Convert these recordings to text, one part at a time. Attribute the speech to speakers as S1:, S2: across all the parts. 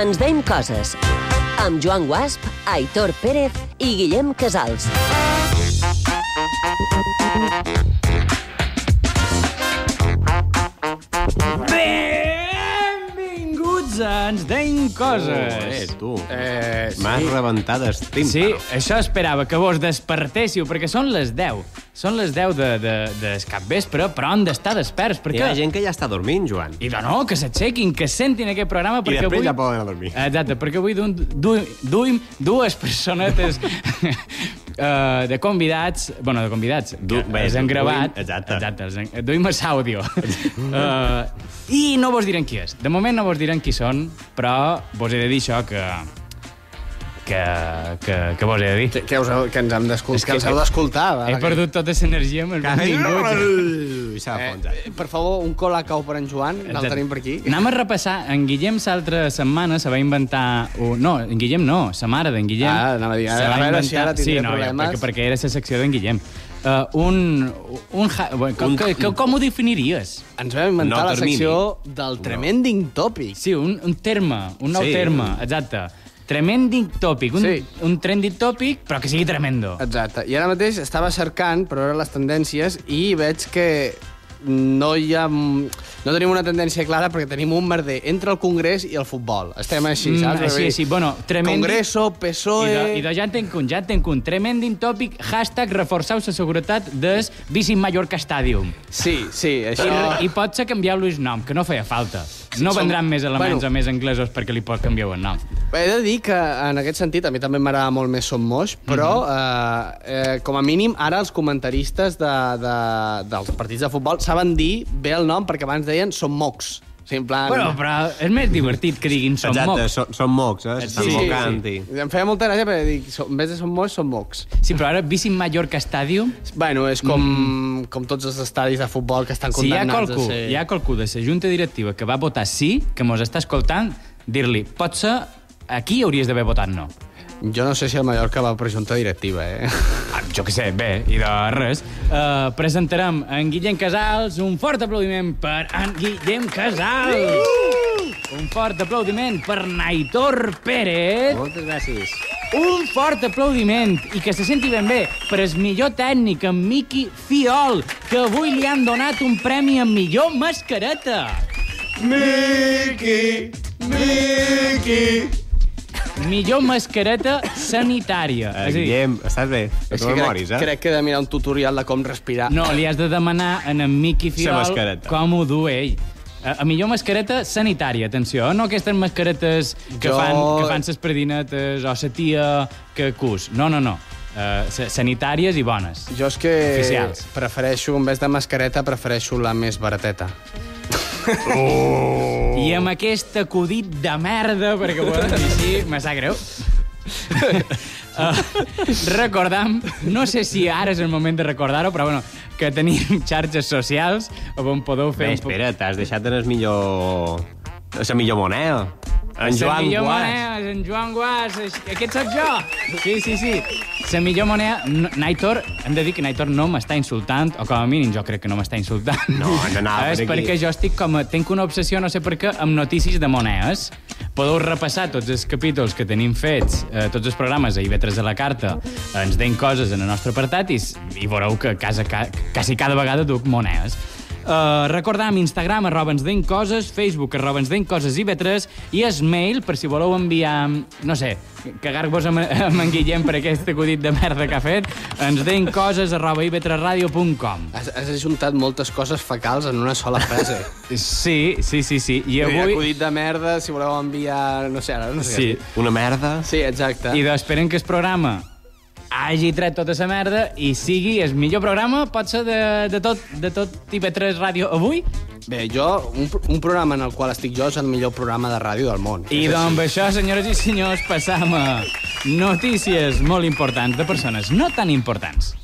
S1: Ens veiem coses. Amb Joan Guasp, Aitor Pérez i Guillem Casals.
S2: Benvinguts a Ens deim
S3: Eh,
S2: coses.
S3: tu.
S2: Eh,
S3: M'has
S2: sí.
S3: rebentat el
S2: Oh,
S3: tímpano.
S2: eh, Sí, això esperava, que vos despertéssiu, perquè són les 10. Són les 10 de, de, de capvespre, però han d'estar desperts,
S3: Hi ha
S2: perquè...
S3: gent que ja està dormint, Joan.
S2: I de no, que s'aixequin, que sentin aquest programa,
S3: I
S2: perquè
S3: després
S2: avui...
S3: ja poden anar a dormir.
S2: Exacte, perquè avui duim, duim, duim dues personetes eh, de convidats... bueno, de convidats,
S3: Du-
S2: du,
S3: bé,
S2: bé, els han
S3: duim,
S2: gravat.
S3: exacte.
S2: exacte els han, duim a àudio. uh, I no vos diran qui és. De moment no vos diran qui són, però vos he de dir això que... que, que, que vos he de dir.
S4: Que, que, us, heu- que ens hem d'escoltar,
S2: És
S4: que,
S2: que
S4: ens heu d'escoltar. va,
S2: He
S4: perquè-
S2: perdut tota l'energia amb els benvinguts.
S3: I s'ha enfonsat.
S4: Eh, per favor, un colacao per en Joan, el tenim per aquí.
S2: Anem a repassar. En Guillem l'altra setmana se va inventar... Un... No, en Guillem no, sa mare d'en Guillem.
S4: Ah, anava a dir,
S2: se
S4: a
S2: va
S4: veure si ara
S2: sí,
S4: tindré
S2: no,
S4: problemes.
S2: Perquè, perquè era la secció d'en Guillem. Uh, un... un, ha... bueno, com, que, que, com ho definiries?
S4: Ens vam inventar
S3: No
S4: la
S3: termini.
S4: secció del Tremending Topic.
S2: Sí, un, un terme, un nou
S3: Sí.
S2: sí. terme, exacte. Tremending topic, un,
S4: Sí.
S2: un trending topic, però que sigui tremendo.
S4: Exacte. I ara mateix estava cercant, però eren les tendències, i veig que no hi ha... No tenim una tendència clara perquè tenim un merder entre el Congrés i el futbol. Estem així,
S2: Mm,
S4: saps?
S2: així,
S4: Vull dir,
S2: així. Bueno, tremending-
S4: Congreso,
S2: I
S4: PSOE...
S2: de, I de, ja entenc un, ja entenc un. Tremending topic, hashtag reforçau la seguretat des Visit Mallorca Stadium.
S4: Sí, sí,
S2: I,
S4: això...
S2: I pot ser canviar-lo el nom, que no feia falta. No
S4: Ah. som-
S2: vendran més elements
S4: bueno.
S2: o més anglesos perquè li pot canviar el nom.
S4: He de dir que en aquest sentit a mi també m'agrada molt més Som Moix, però
S2: Mhm.
S4: eh, eh, com a mínim ara els comentaristes de, de, dels partits de futbol saben dir bé el nom perquè abans deien Som Mocs. O sigui, en plan...
S2: Bueno, però és més divertit que diguin som
S3: Exacte,
S2: mocs.
S3: són, són mocs, eh? Estan
S4: sí, sí.
S3: mocant. i-
S4: Em feia molta gràcia perquè dic, "So- en vez de Som Moix, Som Mocs.
S2: Sí, però ara Visit Mallorca Stadium...
S4: Bueno, és com, mm. com tots els estadis de futbol que estan
S2: Mhm. Si hi ha
S4: condemnats
S2: qualcú,
S4: a ser...
S2: hi ha qualcú de la junta directiva que va votar sí, que mos està escoltant, dir-li, potser aquí hauries d'haver votat no.
S4: Jo no sé si el Mallorca va per junta directiva, eh?
S2: Ah, Jo què sé, bé, i de res. Uh, presentarem en Guillem Casals. Un fort aplaudiment per en Guillem Casals.
S4: Uhuh!
S2: Un fort aplaudiment per Naitor Pérez.
S3: Moltes gràcies.
S2: Un fort aplaudiment i que se senti ben bé per el millor tècnic, en Miqui Fiol, que avui li han donat un premi en millor mascareta. Miqui, Miqui... Millor mascareta sanitària.
S3: Eh,
S2: És a dir,
S3: Guillem, estàs bé? Que
S4: És
S3: tu
S4: que
S3: no
S4: crec,
S3: moris, eh?
S4: crec que he de mirar un tutorial de com respirar.
S2: No, li has de demanar a en Miqui
S3: Sa
S2: Fiol
S3: mascareta.
S2: com ho du ell. A, a millor mascareta sanitària, atenció, no aquestes mascaretes que
S4: Jo-
S2: fan que fan ses predinetes o sa tia que cus. No, no, no. Uh, sanitàries i bones.
S4: Jo és que
S2: Oficials.
S4: prefereixo, en vez de mascareta, prefereixo la més barateta.
S3: Oh.
S2: I amb aquest acudit de merda, perquè ho hem així, me sap greu. Uh, recordam, no sé si ara és el moment de recordar-ho, però bueno, que tenim xarxes socials on podeu fer...
S3: Bé,
S2: un po-
S3: espera, t'has deixat en el millor... La millor moneda. En
S2: La
S3: Joan
S2: millor
S3: Guas.
S2: moneda és en Joan Guas. així- Aquest sóc jo. Sí, sí, sí. La millor moneda... No, Naitor, hem de dir que Naitor no m'està insultant, o com a mínim jo crec que no m'està insultant.
S3: No, no anava
S2: És
S3: per aquí.
S2: perquè jo estic com... a- Tenc una obsessió, no sé per què, amb notícies de monedes. Podeu repassar tots els capítols que tenim fets, eh, tots els programes a IB3 de la carta, ens deim coses en el nostre apartat i, s- i veureu que casa, ca, quasi cada vegada duc monedes. Uh, recordam, Instagram, arroba ens deim coses, Facebook, arroba ens deim coses IB3, i es mail, per si voleu enviar, no sé, cagar-vos amb, amb en Guillem per aquest acudit de merda que ha fet, ens deim coses, arroba ib3radio.com.
S4: Has, has ajuntat moltes coses fecals en una sola frase.
S2: Sí, sí, sí, sí. I
S4: Avui...
S2: avui...
S4: Acudit de merda, si voleu enviar... No sé, ara no sé.
S2: Sí,
S3: Una merda.
S4: Sí, exacte.
S2: I
S4: I...
S2: d'esperen que el programa hagi tret tota la merda i sigui el millor programa, pot ser de, de tot, de tot TV3 Ràdio avui.
S4: Bé, jo, un, pro- un programa en el qual estic jo és el millor programa de ràdio del món.
S2: I doncs amb això, senyores i senyors, passam a notícies molt importants de persones no tan importants.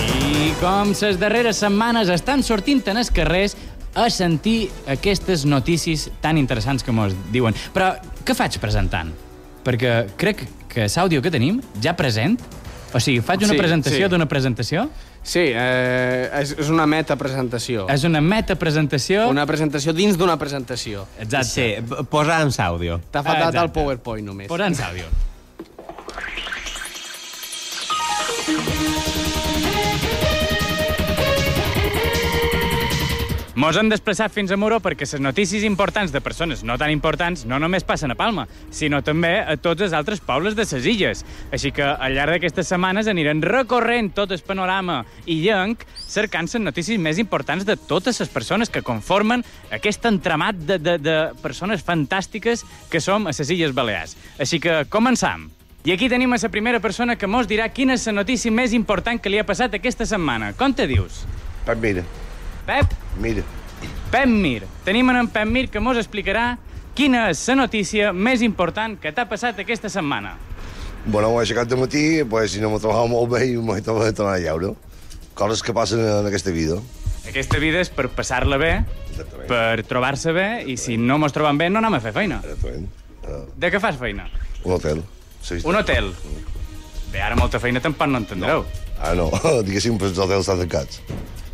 S2: I com ses darreres setmanes estan sortint en els carrers a sentir aquestes notícies tan interessants que mos diuen. Però què faig presentant? Perquè crec que l'àudio que tenim ja present... O sigui, faig una
S4: Sí,
S2: presentació
S4: sí.
S2: d'una presentació...
S4: Sí, eh, és, és una metapresentació.
S2: És una metapresentació...
S4: Una presentació dins d'una presentació.
S2: Exacte.
S3: Sí, p- posa en àudio.
S4: T'ha faltat
S2: Exacte.
S4: el PowerPoint, només.
S2: Posa'ns àudio. Mos hem desplaçat fins a Muro perquè les notícies importants de persones no tan importants no només passen a Palma, sinó també a tots els altres pobles de ses illes. Així que al llarg d'aquestes setmanes anirem recorrent tot el panorama i llenc cercant les notícies més importants de totes les persones que conformen aquest entramat de, de, de persones fantàstiques que som a ses Illes Balears. Així que començam. I aquí tenim a la primera persona que mos dirà quina és la notícia més important que li ha passat aquesta setmana. Com te dius?
S5: Pep, mira,
S2: Pep?
S5: mira.
S2: Pep Mir. Tenim en, en Pep Mir que mos explicarà quina és la notícia més important que t'ha passat aquesta setmana.
S5: Bueno, m'he aixecat de matí, pues, si no m'ho trobava molt bé i m'he tornat a tornar a llaure. Coses que passen en aquesta vida.
S2: Aquesta vida és per passar-la bé,
S5: Exactament.
S2: per trobar-se bé, i si no mos trobem bé no anem a fer feina.
S5: Exactament. Uh,
S2: De què fas feina?
S5: un hotel. Sí,
S2: Un hotel. Bé, ara molta feina tampoc no entendreu.
S5: Ah, no. Diguéssim, pues, els hotels estan tancats.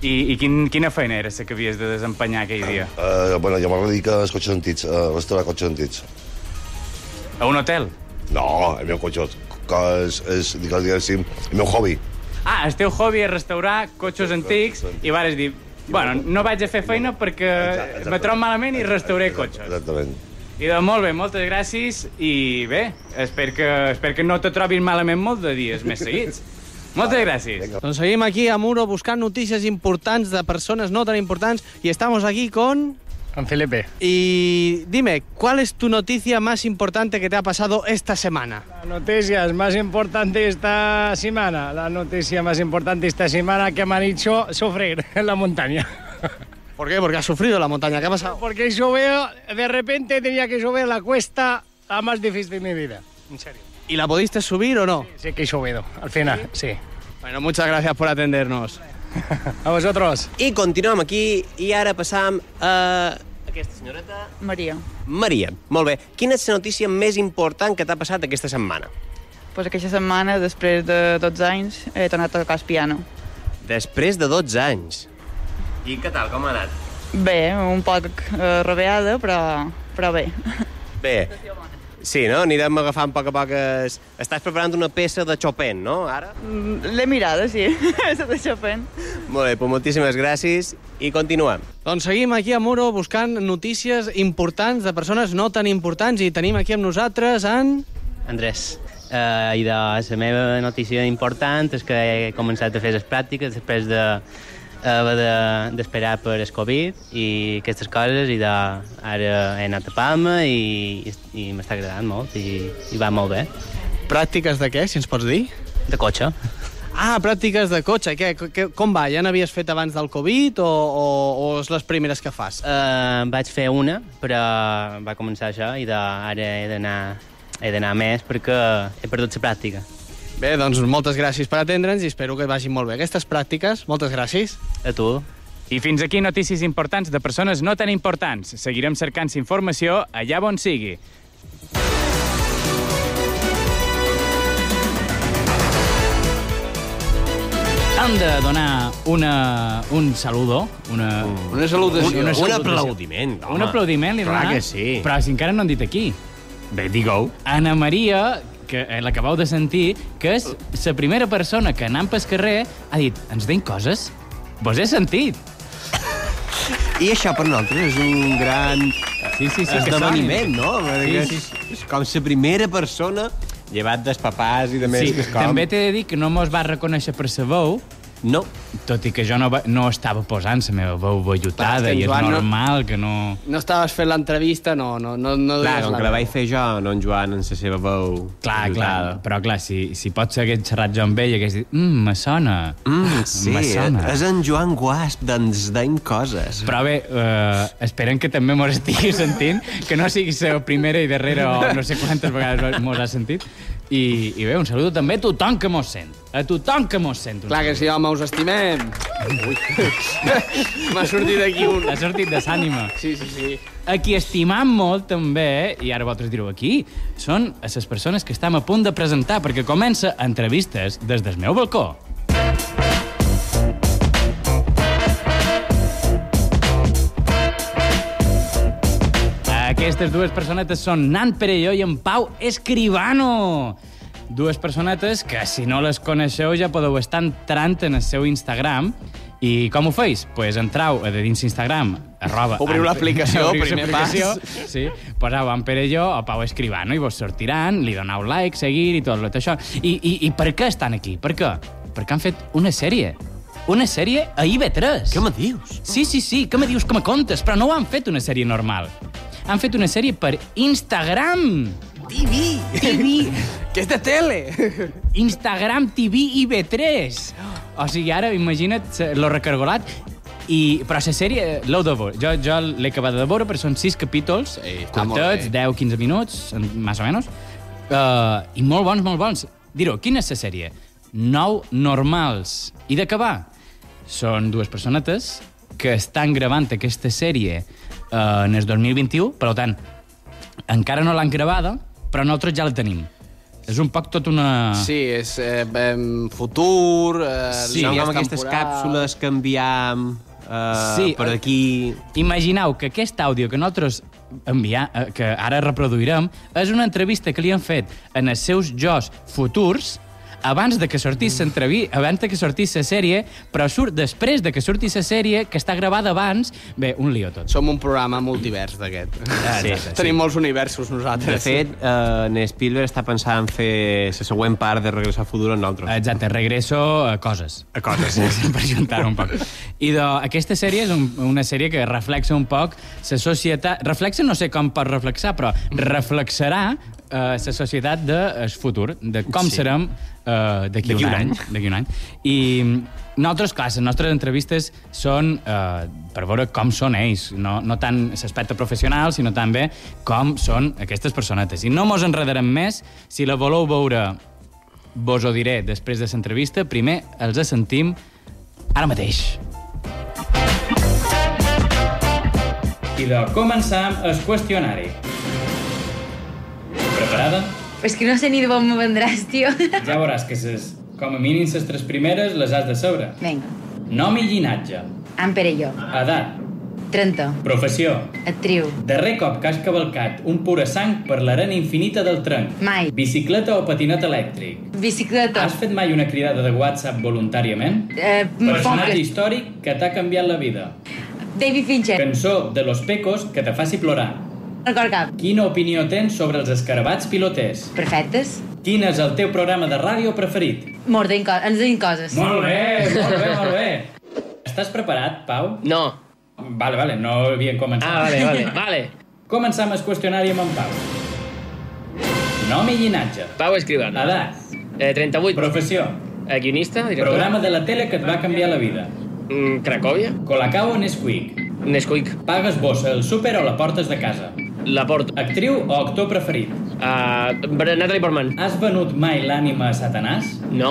S2: I, i quin, quina feina era la que havies de desempenyar aquell dia?
S5: Uh, bueno, jo m'agradaria als cotxes antics, a uh, restaurar cotxes antics.
S2: A un hotel?
S5: No, el meu cotxe que és, és digues, diguéssim, el meu hobby.
S2: Ah, el teu hobby és restaurar cotxos antics i vares dir... Bueno, no vaig a fer feina perquè me trobo malament i restauré cotxes.
S5: Exactament.
S2: I doncs molt bé, moltes gràcies i bé, espero que, espero que no te trobin malament molt de dies més seguits. Moltes gràcies.
S5: vinga.
S4: Doncs seguim aquí a Muro buscant notícies importants de persones no tan importants y estamos aquí con...
S6: Con Felipe.
S4: Y dime, ¿cuál es tu noticia más importante que te ha pasado esta semana?
S6: Las noticias más importantes esta semana. La noticia más importante esta semana que me han hecho sufrir en la montaña.
S4: ¿Por qué? Porque has sufrido la montaña. ¿Qué ha pasado?
S6: Porque yo veo, de repente tenía que subir la cuesta la más difícil de mi vida. En serio.
S4: ¿Y la pudiste subir o no?
S6: Sí que he subido, al final, sí.
S4: Bueno, muchas gracias por atendernos.
S6: A vosotros.
S7: I continuem aquí, i ara passam a... Aquesta senyoreta...
S8: Maria,
S7: Maria, molt bé. Quina és la notícia més important que t'ha passat aquesta setmana?
S8: doncs aquesta setmana, després de 12 anys, he tornat a tocar el piano.
S7: Després de 12 anys. I què tal, com ha anat?
S8: Bé, un poc eh, rebeada, però, però bé.
S7: Bé. Sí, no? Anirem agafant a poc a poc... Es... Estàs preparant una peça de Chopin, no, ara?
S8: Mm, L'he mirada, sí, s'ha deixat fent.
S7: Molt bé, doncs moltíssimes gràcies i continuem.
S4: Doncs seguim aquí a Muro buscant notícies importants de persones no tan importants i tenim aquí amb nosaltres en...
S9: Andrés. Uh, I de la meva notícia important és que he començat a fer les pràctiques després de haver de- d'esperar de, per el Covid i aquestes coses i de, ara he anat a Palma i, i m'està agradant molt i, i va molt bé.
S4: Pràctiques de què, si ens pots dir?
S9: De cotxe.
S4: Ah, pràctiques de cotxe. Què, què, com va? Ja n'havies fet abans del Covid o, o, o és les primeres que fas?
S9: Uh, vaig fer una, però va començar això i de, ara he d'anar he d'anar més perquè he perdut la pràctica.
S4: Bé, doncs moltes gràcies per atendre'ns i espero que vagin molt bé aquestes pràctiques. Moltes gràcies.
S9: A tu?
S2: I fins aquí notícies importants de persones no tan importants. Seguirem cercant informació allà on sigui. Hem de donar una, un saludo, una,
S4: Una salutació.
S2: Una
S7: Un
S2: salutació.
S7: aplaudiment, Uh. home.
S2: un aplaudiment. Li
S7: Clar
S2: donar,
S7: que sí.
S2: Però si encara no han dit aquí.
S7: Bé, digue-ho.
S2: Anna Maria, que eh, l'acabeu de sentir, que és la primera persona que anant pel carrer ha dit ens deim coses? Vos he sentit.
S3: I això per nosaltres és un gran
S2: Sí, sí, sí. que
S3: esdeveniment,
S2: sonin.
S3: no?
S2: Sí,
S3: Perquè
S2: sí,
S3: és, és com la primera persona, llevat dels papàs i de més,
S2: Sí,
S3: que és com...
S2: també t'he de dir que no mos va reconèixer per sa veu,
S3: No,
S2: tot i que jo no, va, no estava posant la meva veu vellutada
S4: Clar, és que
S2: i és
S4: en Joan no-
S2: normal que no...
S4: No estaves fent l'entrevista, no, no, no, no
S3: clar,
S4: deies
S3: com que la vaig fer jo, no en Joan, en la seva veu...
S2: Clar, clar,
S3: ajudada.
S2: però clar, si, si potser hagués xerrat jo amb ell hagués dit, mmm, me sona,
S3: Mm, sí,
S2: Ah, me sona.
S3: és en Joan Guasp d'Ens Deim Coses.
S2: Però bé, eh, esperem que també mos estigui sentint, que no sigui la primera i darrera o no sé quantes vegades mos ha sentit. I, I bé, un saludo també a tothom que mos sent. A tothom que mos sent. un
S4: Clar que sí, home, us estimem. M'ha sortit aquí un...
S2: saludo. Ha sortit de s'ànima.
S4: Sí, sí, sí.
S2: A qui estimam molt, també, i ara vosaltres direu aquí, són a les persones que estem a punt de presentar, perquè comença entrevistes des del meu balcó. Aquestes dues personetes són Nan Perelló i en Pau Escribano. Dues personetes que, si no les coneixeu, ja podeu estar entrant en el seu Instagram. I com ho feis? Doncs pues entrau a de dins Instagram, arroba...
S4: Obriu
S2: en-
S4: l'aplicació,
S2: obriu
S4: primer
S2: l'aplicació,
S4: pas.
S2: Sí, poseu en Perelló o Pau Escribano i vos sortiran, li donau like, seguir i tot lo- tot això. I, i, I per què estan aquí? Per què? Perquè han fet una sèrie. Una sèrie a IB3.
S3: Què me dius?
S2: Sí, sí, sí, què me dius que me contes? Però no ho han fet una sèrie normal. Han fet una sèrie per Instagram.
S4: TV!
S2: TV.
S4: que és de tele!
S2: Instagram TV i B3. O sigui, ara imagina't se- lo recargolat. I, però la sèrie eh, l'heu de veure. Jo, jo l'he acabat de veure, però són sis capítols, eh,
S4: està molt
S2: curtets,
S4: bé.
S2: 10-15 minuts, en- més o menys. Uh, I molt bons, molt bons. Direu, quina és la sèrie? Nou normals. I de què va? Són dues personetes que estan gravant aquesta sèrie uh, en el 2021, per tant, encara no l'han gravada, però nosaltres ja la tenim. És un poc tot una...
S3: Ah.
S4: Sí, és eh, em, futur... Eh,
S2: Sí,
S4: línies
S2: Són
S3: Som amb aquestes
S4: temporals.
S3: càpsules que enviam eh,
S2: Sí,
S3: sí, per
S2: eh,
S3: aquí...
S2: Imagineu que aquest àudio que nosaltres enviar, eh, que ara reproduirem és una entrevista que li han fet en els seus jocs futurs abans de que sortís l'entrevi- abans de que sortís la sèrie, però surt després de que surti la sèrie, que està gravada abans... Bé, un lío tot.
S4: Som un programa multivers d'aquest.
S3: sí,
S4: Tenim molts universos nosaltres.
S3: De fet, eh, en Spielberg està pensant en fer la següent part de Regreso a Futuro en nosaltres.
S2: Exacte, regreso a coses.
S3: A coses,
S2: sí. per juntar un poc. I de, aquesta sèrie és un, una sèrie que reflexa un poc la societat... Reflexa, no sé com pot reflexar, però reflexarà la societat del futur, de com
S3: Sí.
S2: sí. serem eh, d'aquí
S3: D'aquí
S2: un,
S3: un
S2: any.
S3: any.
S2: D'aquí un any. I mm, nosaltres, clar, les nostres entrevistes són eh, per veure com són ells, no, no tant l'aspecte professional, sinó també com són aquestes personetes. I no mos enredarem més. Si la voleu veure vos ho diré després de l'entrevista. Primer els sentim ara mateix. I de començar amb el qüestionari. Preparada?
S10: Pues que no sé ni de on me vendràs, tio.
S2: Ja veuràs que ses, com a mínim les tres primeres les has de saber.
S10: Vinga,
S2: Nom i llinatge,
S10: en Pere i jo.
S2: edat,
S10: 30,
S2: professió,
S10: actriu,
S2: darrer cop que has cavalcat un pura sang per l'arena infinita del trenc,
S10: Mai.
S2: bicicleta o patinet elèctric,
S10: bicicleta,
S2: Has fet mai una cridada de WhatsApp voluntàriament?
S10: Eh,
S2: Personatge
S10: poques.
S2: històric que t'ha canviat la vida.
S10: David Fincher,
S2: Cançó de Los Pecos que te faci plorar.
S10: no record cap,
S2: Quina opinió tens sobre els escarabats piloters?
S10: perfectes,
S2: Quin és el teu programa de ràdio preferit?
S10: mort d'inco- ens deien coses.
S2: Molt bé, molt bé, molt bé. Estàs preparat, Pau?
S9: No. Ah,
S2: Vale, vale, no havien començat.
S9: vale, vale.
S2: Començam el qüestionari amb en Pau. Nom i llinatge.
S9: Pau Escribano.
S2: Edat.
S9: Eh, 38.
S2: Professió.
S9: Eh, Guionista,
S2: Programa de la tele que et va canviar la vida.
S9: Mm, Cracòvia.
S2: Colacao o Nesquik?
S9: Nesquik.
S2: Pagues bossa al súper o la portes de casa?
S9: La Porto.
S2: Actriu o actor preferit?
S9: Uh, Natalie Portman.
S2: Has venut mai l'ànima a Satanàs?
S9: No.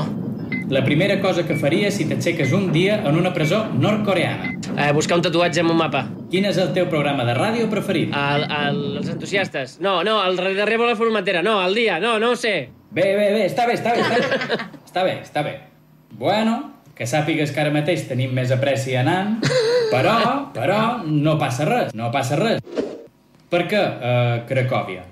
S2: La primera cosa que faria si t'aixeques un dia en una presó nord-coreana.
S9: Eh, buscar un tatuatge en un mapa.
S2: Quin és el teu programa de ràdio preferit?
S9: El, el, els entusiastes. No, no, el darrer vol la formatera. No, el dia. No, no ho sé.
S2: Bé, bé, bé, està bé, està bé, està bé. Està bé, està bé. Bueno, que sàpigues que ara mateix tenim més a pressi anant, però, però, no passa res, no passa res. Per què eh, Cracòvia?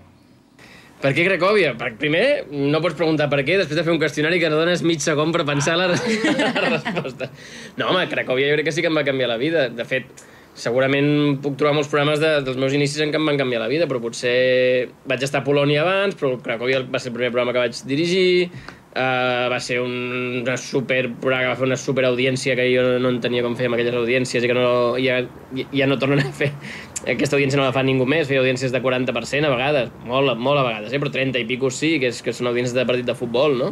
S9: Per què Cracòvia? Per, primer, no pots preguntar per què, després de fer un qüestionari que no dones mig segon per pensar la, res- la resposta. No, home, Cracòvia jo crec que sí que em va canviar la vida. De fet, segurament puc trobar molts programes de, dels meus inicis en què em van canviar la vida, però potser vaig estar a Polònia abans, però Cracòvia va ser el primer programa que vaig dirigir, Uh, va ser un, una super programa, va fer una super audiència que jo no entenia com fèiem aquelles audiències i que no, ja, ja no tornen a fer aquesta audiència no la fa ningú més, feia audiències de 40% a vegades, molt, molt a vegades, eh? però 30 i pico sí, que, és, que són audiències de partit de futbol, no?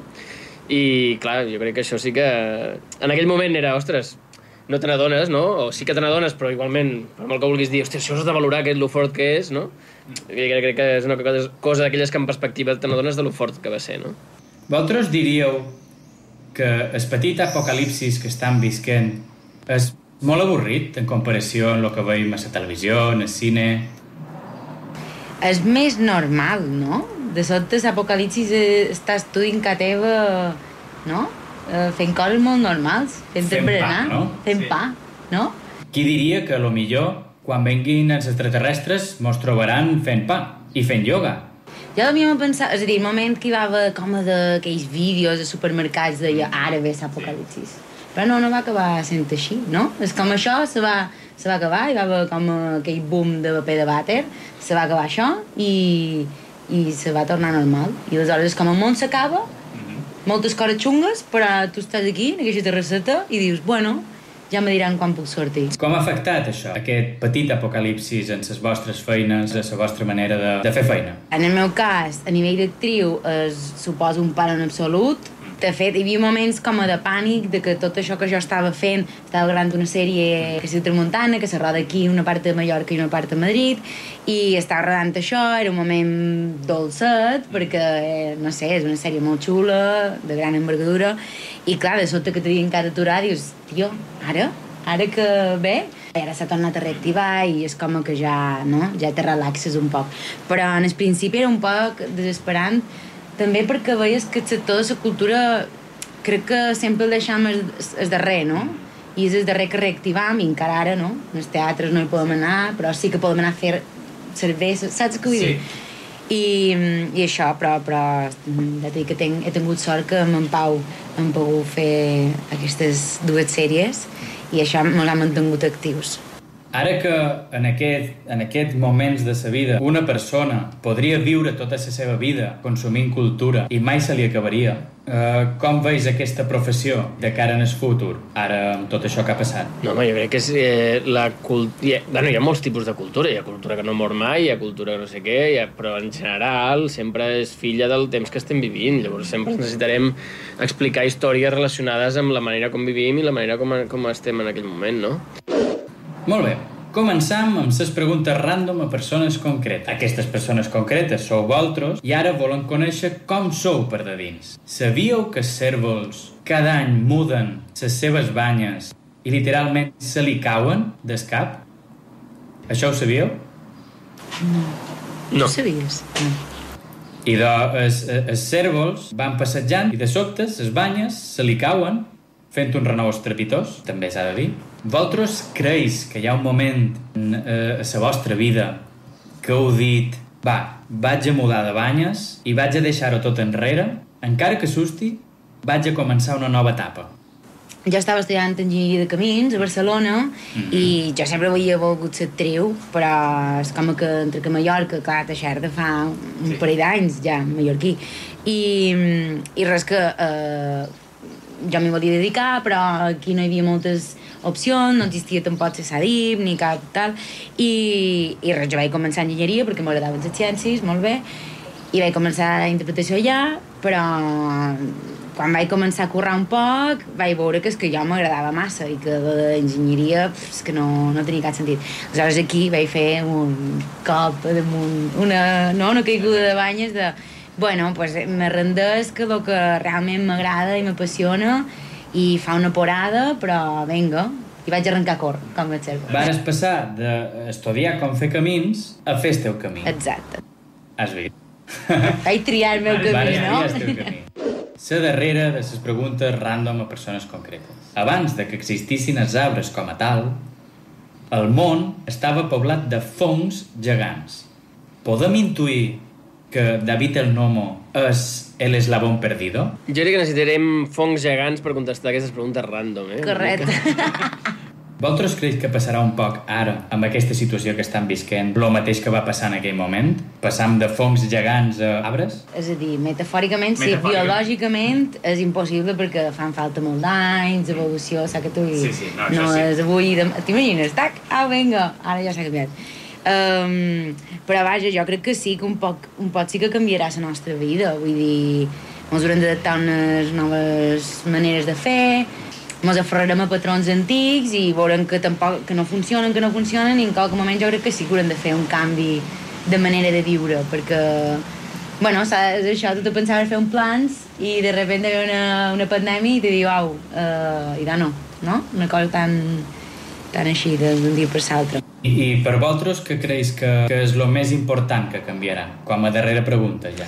S9: I clar, jo crec que això sí que... En aquell moment era, ostres, no te n'adones, no? O sí que te n'adones, però igualment, per molt que vulguis dir, hòstia, això has de valorar aquest, lo fort que és, no? Jo crec que és una cosa, cosa d'aquelles que en perspectiva te n'adones de lo fort que va ser, no?
S2: Vosaltres diríeu que el petit apocalipsis que estan visquent és molt avorrit en comparació amb el que veiem a la televisió, en el cine...
S10: És més normal, no? De sobte, l'apocalipsis eh, estàs tu en ca teva, no? Eh, Fent coses molt normals, fent,
S2: Fent pa,
S10: berenar,
S2: no?
S10: fent
S2: Sí.
S10: pa, no?
S2: Qui diria que a lo millor Quan venguin els extraterrestres, mos trobaran fent pa i fent ioga.
S10: Jo a mi m'ho pensava... És a dir, el moment que hi va haver com d'aquells vídeos de supermercats deia ara ve l'apocalipsis. Però no, no va acabar sent així, no? És com això se va, se va acabar, hi va haver com eh, aquell boom de paper de vàter, se va acabar això i, i se va tornar normal. I aleshores, com el món s'acaba, moltes coses xungues, però tu estàs aquí, en aquesta terrasseta, i dius, bueno, ja me diran quan puc sortir.
S2: Com ha afectat això, aquest petit apocalipsis en les vostres feines, en la vostra manera de, de fer feina?
S10: En el meu cas, a nivell d'actriu, es suposa un pare en absolut. De fet, hi havia moments com a de pànic de que tot això que jo estava fent, estava gravant una sèrie que s'hi tramuntana, que se roda aquí una part de Mallorca i una part de Madrid, i estava rodant això, era un moment dolcet, perquè, eh, no sé, és una sèrie molt xula, de gran envergadura, i clar, de sobte que t'havien quedat aturar, dius, tio, ara? Ara que ve? I ara s'ha tornat a reactivar i és com que ja, no? ja te relaxes un poc. Però en el principi era un poc desesperant, també perquè veies que el sector de la cultura crec que sempre el deixam el, el darrer, no? I és el darrer que reactivam i encara ara, no? En els teatres no hi podem anar, però sí que podem anar a fer serveis, saps què vull dir? I, i això, però, però mm, ja t'he dit que tenc, he tingut sort que amb en Pau hem pogut fer aquestes dues sèries i això ens ha mantingut actius.
S2: Ara que en, aquest, en aquests moments de sa vida una persona podria viure tota la seva vida consumint cultura i mai se li acabaria, eh, com veus aquesta professió de cara en el futur, ara amb tot això que ha passat?
S11: No, home, jo crec que és, eh, la cultura... Hi ha, bueno, hi ha molts tipus de cultura. Hi ha cultura que no mor mai, hi ha cultura que no sé què, hi ha, però en general sempre és filla del temps que estem vivint. Llavors sempre necessitarem explicar històries relacionades amb la manera com vivim i la manera com, com estem en aquell moment, no?
S2: Molt bé, començam amb les preguntes random a persones concretes. Aquestes persones concretes sou vosaltres i ara volen conèixer com sou per de dins. Sabíeu que els cèrvols cada any muden les seves banyes i literalment se li cauen des cap? Això ho sabíeu?
S10: No.
S2: No.
S10: Ho sabies? No.
S2: I de, es, els cèrvols van passejant i de sobte les banyes se li cauen fent un renou estrepitós, també s'ha de dir. Vosaltres creus que hi ha un moment en, eh, a la vostra vida que heu dit va, vaig a mudar de banyes i vaig a deixar-ho tot enrere, encara que susti, vaig a començar una nova etapa.
S10: Jo estava estudiant enginyeria de camins a Barcelona i jo sempre havia volgut ser actriu, però és com que entre que a Mallorca, clar, Teixerda fa un sí. parell d'anys ja, mallorquí, i, i res que eh, jo m'hi volia dedicar, però aquí no hi havia moltes opcions, no existia tampoc la SADIP ni cap tal, i, i res, jo vaig començar enginyeria perquè m'agradaven les ciències, molt bé, i vaig començar la interpretació allà, però quan vaig començar a currar un poc vaig veure que és que jo m'agradava massa i que de d'enginyeria pf, és que no, no tenia cap sentit. Aleshores aquí vaig fer un cop damunt, una, no, una caiguda de banyes de bueno, pues m'arrendesc que el que realment m'agrada i m'apassiona i fa una porada, però venga, i vaig arrencar a cor, com et sembla.
S2: Vares passar d'estudiar com fer camins a fer el teu camí.
S10: Exacte.
S2: Has vist?
S10: Vaig triar el meu camí,
S2: Vares triar el teu
S10: no?
S2: camí. La darrera de les preguntes random a persones concretes. Abans de que existissin els arbres com a tal, el món estava poblat de fongs gegants. Podem intuir que David el Nomo és el eslabón perdido?
S11: Jo crec que necessitarem fongs gegants per contestar aquestes preguntes random, eh?
S10: Correcte.
S2: Vosaltres creus que passarà un poc ara, amb aquesta situació que estan visquent, el mateix que va passar en aquell moment? Passam de fongs gegants a arbres?
S10: És a dir, metafòricament, sí,
S2: Metafòricament.
S10: biològicament és impossible perquè fan falta molt d'anys, evolució, saps que tu... i
S2: Sí, sí, no, això
S10: no
S2: sí.
S10: és avui... Dem... T'imagines? Tac, au, vinga, ara ja s'ha canviat. Um, però vaja, jo crec que sí que un poc, un poc sí que canviarà la nostra vida, vull dir, ens haurem d'adaptar a unes noves maneres de fer, ens aferrarem a patrons antics i veurem que tampoc que no funcionen, que no funcionen, i en qualque moment jo crec que sí que haurem de fer un canvi de manera de viure, perquè Bueno, saps això, tu te pensaves fer un plans i de repente ve una, una pandèmia i te diu, au, uh, i de no, no? Una cosa tan, tan així de- d'un dia per l'altre.
S2: I, I per vosaltres, què creus que, que és el més important que canviarà? Com a darrera pregunta, ja.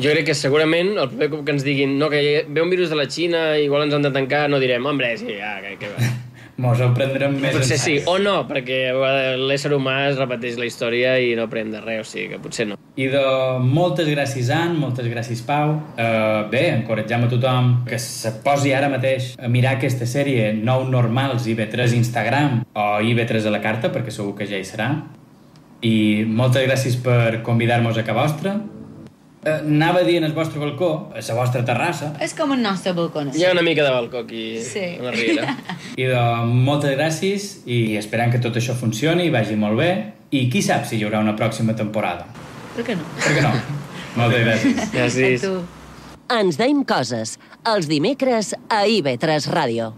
S11: Jo crec que segurament el primer cop que ens diguin no, que ve un virus de la Xina, igual ens han de tancar, no direm, hombre, sí, ja, que, que va.
S2: Mos ho prendrem més
S11: Potser
S2: en
S11: sí,
S2: sèrio.
S11: o no, perquè a vegades l'ésser humà es repeteix la història i no aprèn de res, o sigui que potser no.
S2: I de moltes gràcies, Ann, moltes gràcies, Pau. Uh, bé, encoratgem a tothom que se posi ara mateix a mirar aquesta sèrie Nou Normals IB3 Instagram o IB3 a la carta, perquè segur que ja hi serà. I moltes gràcies per convidar-nos a casa vostra. Uh, anava a dir en el vostre balcó, a la vostra terrassa,
S10: És com el nostre balcó.
S11: Hi ha una mica de balcó aquí
S10: Sí.
S11: a la riera.
S2: i de moltes gràcies i esperant que tot això funcioni i vagi molt bé. I qui sap si hi haurà una pròxima temporada.
S10: Per què no?
S2: Per què no? moltes gràcies.
S11: Gràcies.
S1: Ens deim coses, els dimecres a IB3 Ràdio.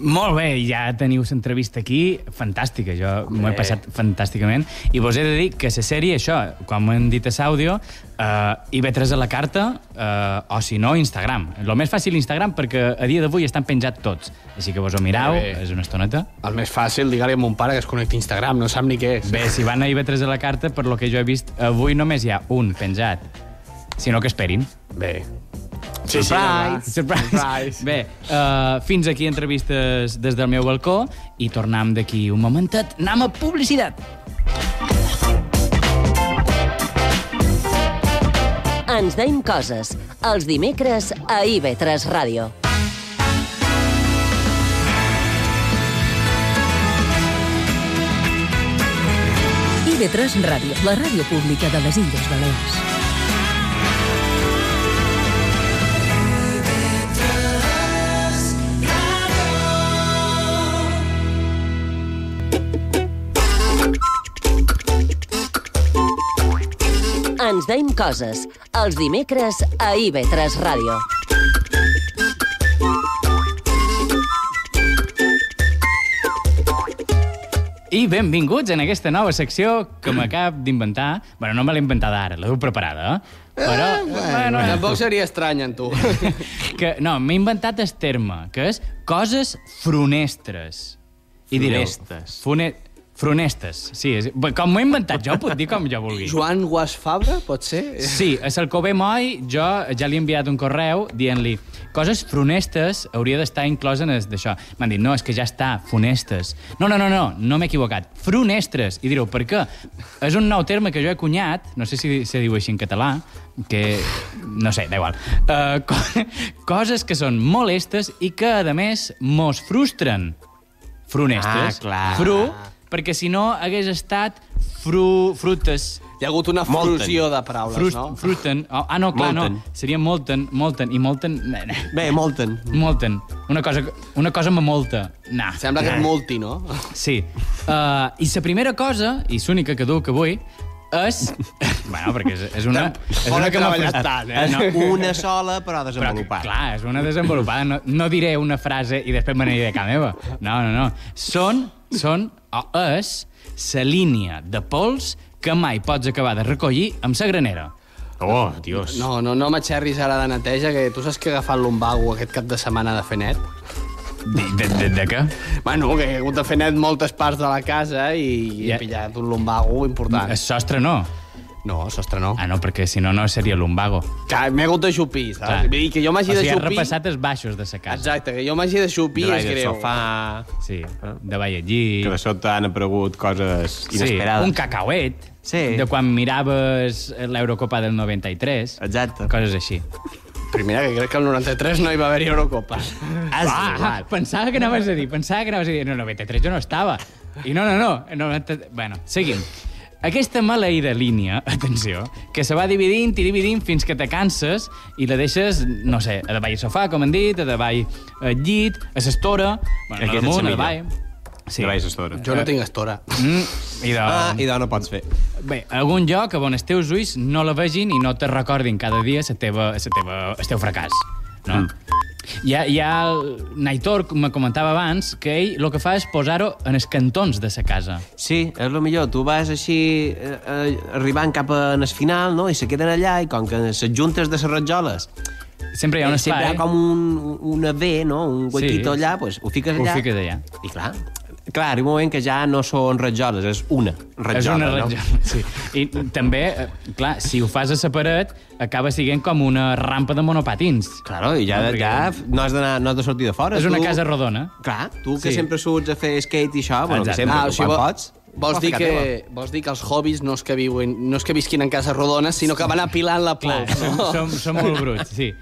S2: Molt bé, ja teniu l'entrevista aquí, fantàstica, jo m'ho he passat fantàsticament, i vos he de dir que la sèrie, això, quan m'han dit a l'àudio, uh, IB3 a la carta, uh, o si no, Instagram. El més fàcil Instagram, perquè a dia d'avui estan penjats tots, així que vos ho mirau,
S4: Molt bé.
S2: és una estoneta.
S4: El més fàcil, digue-li a mon pare que es connecti a Instagram, no sap ni què és.
S2: Bé, si van a IB3 a la carta, per lo que jo he vist, avui només hi ha un penjat, sinó que esperin.
S4: Bé.
S2: Sí, Surprise! Surprise! Surprise. Bé, uh, fins aquí entrevistes des del meu balcó i tornem d'aquí un momentet. Anem a publicitat!
S1: Ens deim coses, els dimecres a IB3 Ràdio.
S12: IB3 Ràdio, la ràdio pública de les Illes Balears.
S1: Ens deim coses, els dimecres a IB3 Ràdio.
S2: I benvinguts en aquesta nova secció que m'acab d'inventar. Bueno, no me l'he inventada ara, la deu preparada, eh? Però,
S4: Ah, bueno, tampoc seria estrany en tu.
S2: que, no, m'he inventat el terme, que és coses fronestres. I direu,
S4: Funestes.
S2: Fune... Fronestes, sí. És... Bé, Com m'ho he inventat jo, ho puc dir com jo vulgui.
S4: Joan Guas Fabra, pot ser?
S2: Sí, a l'Alcover Moll jo ja li he enviat un correu dient-li coses funestes hauria d'estar inclosa en es- d'això. M'han dit, no, és que ja està, funestes. No, no, no, no, no m'he equivocat. Frunestres. I direu, per què? És un nou terme que jo he cunyat, no sé si se diu així en català, que... no sé, da igual. Uh, co coses que són molestes i que, a més, mos frustren. Frunestes.
S4: Ah, clar.
S2: Fru, perquè si no hagués estat fru, frutes.
S4: Hi ha hagut una
S2: Molten.
S4: fusió de paraules,
S2: Frust,
S4: no?
S2: Fruten. Oh, ah, no, clar,
S4: Molten.
S2: no. Seria molten, molten i molten... Bé, molten. Molten. Una cosa, una cosa me molta. Nah.
S4: Sembla que
S2: nah.
S4: és multi, no?
S2: Sí. Uh, I la primera cosa, i l'única que duc avui, és... bueno, perquè és, és una... És
S3: Fora
S2: una que m'ha
S3: treballat
S2: frustrat.
S3: tant, eh?
S2: No,
S3: Una sola, però desenvolupada.
S2: Però, clar, és una desenvolupada. No, no diré una frase i després me n'aniré de casa meva. No, no, no. Són, són o és la línia de pols que mai pots acabar de recollir amb la granera.
S4: Oh, dios. No, no, no m'aixerris ara de neteja, que tu saps que he agafat l'umbago aquest cap de setmana de fer net?
S2: De, de, de, de què?
S4: Bueno, que he hagut de fer net moltes parts de la casa i he pillat un lumbago important.
S2: El sostre no.
S4: No, sostre no.
S2: Ah, no, perquè si no, no seria lumbago.
S4: Clar, m'he hagut de xupir, saps?
S2: Clar.
S4: Vull dir, que jo m'hagi
S2: o sigui,
S4: de
S2: has
S4: xupir...
S2: repassat els baixos de sa casa.
S4: Exacte, que jo m'hagi de xupir és greu.
S2: sofà... Sí, davall allí...
S3: Que de sobte han aparegut coses inesperades.
S2: Sí, un cacauet. Sí. De quan miraves l'Eurocopa del 93. Exacte. Coses així.
S4: Primera, que crec que el 93 no hi va haver Eurocopa.
S2: Ah, pensava que anaves a dir, pensava que anaves a dir, no, no, 93 jo no estava. I no, no, no, no, no bueno, seguim. Aquesta maleïda línia, atenció, que se va dividint i dividint fins que te canses i la deixes, no sé, a davall del sofà, com hem dit, a davall al llit, a l'estora, bueno, no
S3: Aquesta és
S2: damunt,
S3: la
S2: a
S3: millor.
S2: davall... Sí.
S3: Treballs estora.
S2: Jo no tinc
S4: estora.
S2: Mm, i de...
S3: Ah, i de no pots fer.
S2: Bé, algun lloc on els teus ulls no la vegin i no te recordin cada dia la teva, la teva, el teu fracàs. No? Ja, ja el Naitor me comentava abans que ell el que fa és posar-ho en els cantons de sa casa.
S3: Sí, és el millor. Tu vas així eh, eh, arribant cap al final, no? I se queden allà, i com que les juntes de les rajoles...
S2: Sempre hi ha un
S3: eh, Sempre
S2: espai.
S3: hi ha com un, una V, no? Un
S2: Sí.
S3: huequito allà, pues, ho fiques
S2: Ho
S3: allà.
S2: fiques allà.
S3: I clar, clar, hi ha un moment que ja no són rajoles, és una ratjola.
S2: és una
S3: no?
S2: ratjola, sí. I també, eh, clar, si ho fas a la paret, acaba siguent com una rampa de monopatins.
S3: Claro, i ja, ja no, has d'anar- no has de sortir de fora.
S2: És una
S3: tu-
S2: casa rodona.
S3: Clar, tu que
S2: Sí.
S3: sempre surts a fer skate i això, bueno, que
S2: Exacte.
S3: sempre,
S2: Ah,
S3: ah,
S2: o
S3: o
S2: sigui,
S3: quan
S2: vol-
S3: pots... pots
S4: Vols dir,
S3: ficar teva.
S4: que, vols dir que els hobbies no és que, viuen, no és que visquin en cases rodones, sinó que van apilant la plou.
S2: Som,
S4: no?
S2: som, som molt bruts, sí.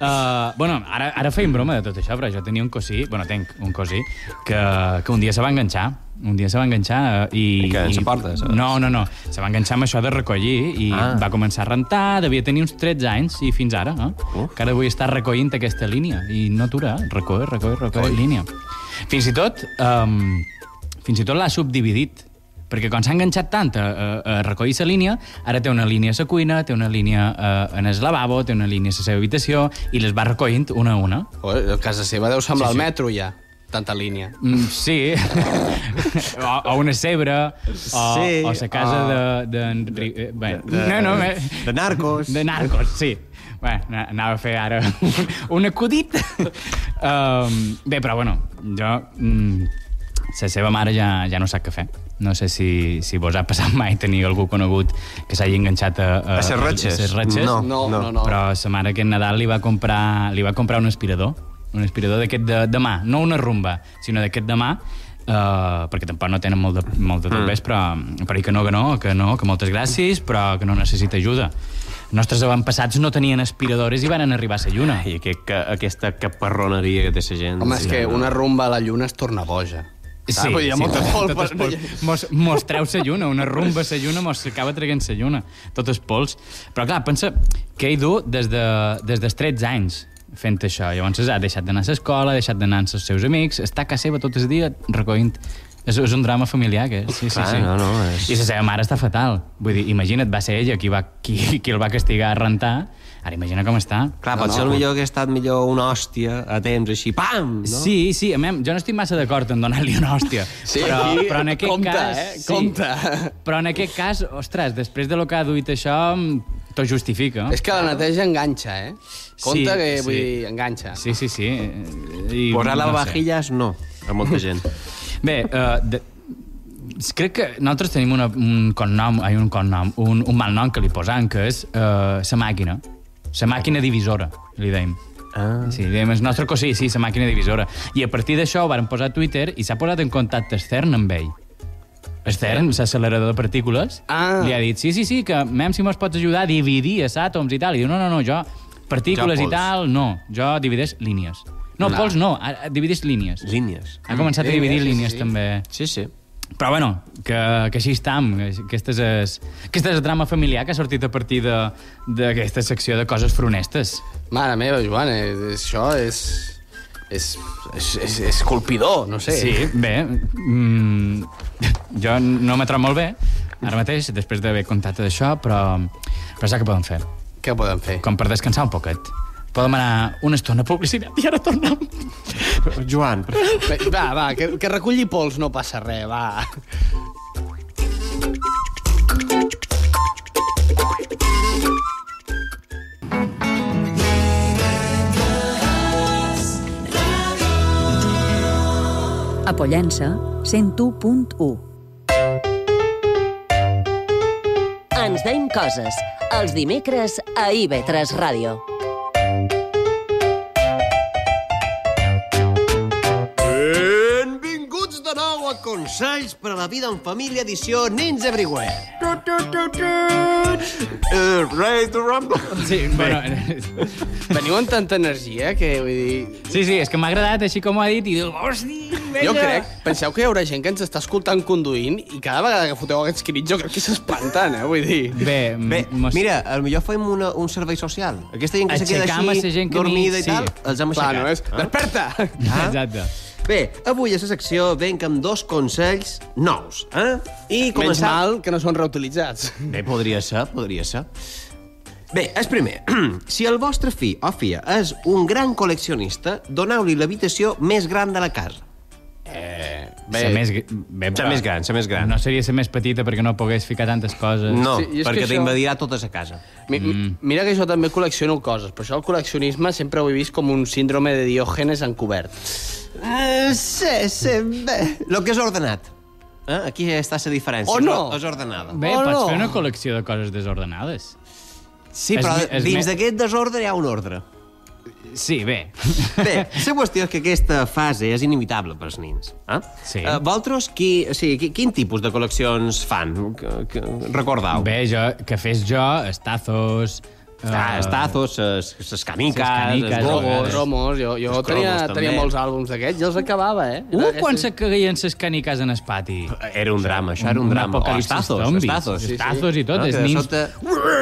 S2: Uh, bueno, ara, ara feim broma de tot això, però jo tenia un cosí, bueno, tenc un cosí, que, que un dia se va enganxar. Un dia se va enganxar eh, i... I
S3: que ens aporta, saps?
S2: No, no, no. Se va enganxar amb això de recollir i ah. va començar a rentar, devia tenir uns 13 anys i fins ara, no? Uh. Que ara vull estar recollint aquesta línia i no atura, eh? recoll, recoll, recoll, línia. Fins i tot, um, fins i tot l'ha subdividit perquè quan s'ha enganxat tant a, a, a recollir la línia, ara té una línia a la cuina, té una línia eh, en el lavabo, té una línia a la seva habitació, i les va recollint una a una.
S4: Joder, eh, a casa seva deu semblar
S2: Sí,
S4: sí,
S2: sí.
S4: el metro, ja. Tanta línia.
S2: Mm, sí. o, o una cebre, o,
S4: Sí,
S2: o la casa
S4: o-
S2: de... de, de, de, bé,
S3: Ah. de-
S2: no, no,
S3: de-
S2: de narcos. De narcos, sí. Bé, na- anava a fer ara un, un acudit. um, bé, però bueno, jo... Mm, la seva mare ja, ja no sap què fer. No sé si, si vos ha passat mai tenir algú conegut que s'hagi enganxat a...
S3: A ses ratxes?
S2: A ses ratxes.
S3: No, No, no. no, no.
S2: Però sa mare aquest Nadal li va comprar, li va comprar un aspirador, un aspirador d'aquest de, de mà, no una rumba, sinó d'aquest de mà, Uh, perquè tampoc no tenen molt de, molt de topes, mm. però, però i que no, que no, que no, que moltes gràcies, però que no necessita ajuda. Els nostres avantpassats no tenien aspiradores i van arribar a la lluna.
S3: I aquest, que, aquesta caparroneria que té la gent...
S4: Home, és que una rumba a la lluna es torna boja.
S3: Ah,
S2: Sí,
S4: Vull dir, hi ha
S2: sí,
S4: molta
S2: tot-
S4: polpa.
S2: tot és pols. Mos, mos treu sa lluna, una rumba sa lluna, mos acaba traient sa lluna. Tot és pols. Però clar, pensa que ell du des, de, des dels 13 anys fent això. Llavors ha deixat d'anar a l'escola, ha deixat d'anar amb els seus amics, està a casa seva tot el dia recollint... És, és un drama familiar, aquest. Sí, sí,
S3: Clar,
S2: sí.
S3: no, no, és-
S2: I la seva mare està fatal. Vull dir, imagina't, va ser ella qui, va, qui, qui el va castigar a rentar. Ara imagina com està.
S3: Clar, potser no, millor que ha estat millor una hòstia a temps, així, pam! No?
S2: Sí, sí, a mi, jo no estic massa d'acord en donar-li una hòstia.
S3: Sí,
S2: però,
S3: aquí,
S2: però en aquest
S3: compte,
S2: cas...
S3: eh? Compte.
S2: Però en aquest cas, ostres, després de lo que ha duit això, mm, t'ho justifica.
S4: És que la neteja enganxa, eh? Compte
S2: Sí,
S4: que,
S2: sí.
S4: vull dir, enganxa.
S2: Sí, sí, sí. I, no
S3: Posar
S2: sé.
S3: lavavajillas, no. A molta gent.
S2: Bé, uh, de, crec que nosaltres tenim una, un cognom, ai, un cognom, un, un malnom que li posam, que és uh, sa màquina. Sa màquina divisora, li deim. Ah. Sí, li dèiem, el nostre cosí, sí, sa màquina divisora. I a partir d'això ho van posar a Twitter i s'ha posat en contacte extern amb ell. Extern, l'accelerador de partícules, ah. li ha dit, sí, sí, sí, que mem si mos pots ajudar a dividir els àtoms i tal. I diu, no, no, no, jo partícules
S3: Jo
S2: i
S3: pols.
S2: tal, no, jo divideix línies. No,
S3: No.
S2: no. pols no, a- a- divideix línies.
S3: Línies.
S2: Ha començat a
S3: Sí,
S2: dividir
S3: sí,
S2: línies,
S3: sí.
S2: també.
S3: Sí, sí.
S2: Però bueno, que, que així estam. Aquesta és, es, aquesta és el drama familiar que ha sortit a partir de- d'aquesta secció de coses fronestes.
S4: Mare meva, Joan, és, és- això és... És, és, és, és colpidor, no sé.
S2: Sí, bé, mm, jo no m'he trobat molt bé ara mateix, després d'haver contat això, però, però saps què podem fer?
S4: Què podem fer?
S2: Com per descansar un poquet. Podem anar una estona a publicitat i ara tornem.
S3: Joan, per
S4: Bé, Va, va, que, que reculli pols no passa res, va.
S12: A Pollença, 101.1.
S1: Ens deim coses. Els dimecres a IB3 Ràdio.
S3: Benvinguts de nou a Consells per a la vida en família, edició Nins Everywhere. Tu, tu, tu, tu. Uh, Ray to Rumble.
S2: Sí, bueno...
S4: Veniu amb tanta energia que, vull dir...
S2: Sí, sí, és que m'ha agradat així com ho ha dit i diu, "Oh, hosti,
S4: Jo crec, penseu que hi haurà gent que ens està escoltant conduint i cada vegada que foteu aquests crits jo crec que s'espanten, eh? Vull dir...
S2: Bé,
S3: Bé, mira, a lo millor fem una, un servei social. Aquesta gent que se queda
S4: Aixecam a
S3: així,
S4: sa gent que
S3: dormida
S4: ni-
S3: i tal,
S4: sí.
S3: els Ah. hem
S4: Clar,
S3: aixecat.
S4: no és, "Desperta!"
S3: Ah?
S2: Exacte.
S3: Bé, avui a la secció venc amb dos consells nous. Eh? I
S4: Menys
S3: començar...
S4: mal que no són reutilitzats.
S3: Bé, podria ser, podria ser. Bé, el primer. si el vostre fill o filla és un gran col·leccionista, doneu-li l'habitació més gran de la casa.
S2: Eh,
S3: bé,
S2: ser més, gr- bé,
S3: ser més gran, ser més gran.
S2: No seria ser més petita perquè no pogués ficar tantes coses.
S3: No, tota
S4: Sí, i és perquè que això- t'invadirà totes a casa. Mi, mi-
S2: Mm.
S4: Mira que jo també col·lecciono coses, però això el col·leccionisme sempre ho he vist com un síndrome de diògenes encobert.
S3: Eh, sí, sí, bé. Lo que és ordenat. Eh? Aquí està la diferència.
S2: O no.
S3: És ordenada.
S2: Bé, pots fer una col·lecció de coses desordenades.
S3: Sí, però dins d'aquest desordre hi ha un ordre.
S2: Sí, bé.
S3: Bé, la qüestió és que aquesta fase és inimitable pels nins. Eh? Sí. Uh, vosaltres, qui, o sigui, qui, quin tipus de col·leccions fan? Que, que, recordau.
S2: Bé, jo, que fes jo, estazos...
S3: Ah,
S2: eh,
S3: estazos, ses, ses caniques,
S2: ses
S3: ses
S2: caniques,
S3: gogos...
S2: els
S4: cromos, jo, jo
S3: els
S4: tenia,
S3: cromos,
S4: tenia
S3: també.
S4: molts àlbums d'aquests i els acabava, eh?
S2: Uh, quan se cagueien ses caniques en el pati.
S3: Era un drama, això era un drama. O
S2: apocalipsis
S3: estazos,
S2: zombis.
S3: estazos. Sí, sí.
S2: Estazos i tot,
S3: No,
S2: els
S3: que de
S2: nins...
S3: sobte-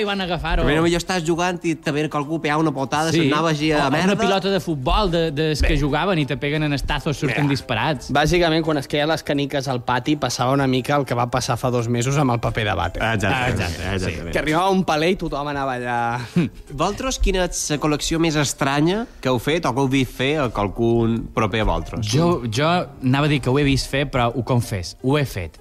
S2: I van agafar-ho.
S3: Primer potser estàs jugant i te ve que algú pega una potada, sí. se'n anava així
S2: O
S3: a merda...
S2: Oh, Una pilota de futbol de, de que jugaven i te peguen en estazos, surten disparats.
S4: Bàsicament, quan es queien les caniques al pati, passava una mica el que va passar fa dos mesos amb el paper de vàter.
S2: Ah,
S3: Exacte, exacte, exacte.
S4: Que arribava un paler i tothom anava allà...
S3: Hm. Vosaltres, quina és la col·lecció més estranya que heu fet o que heu vist fer a qualcun proper a vosaltres?
S2: Jo, jo anava a dir que ho he vist fer, però ho confés, ho he fet.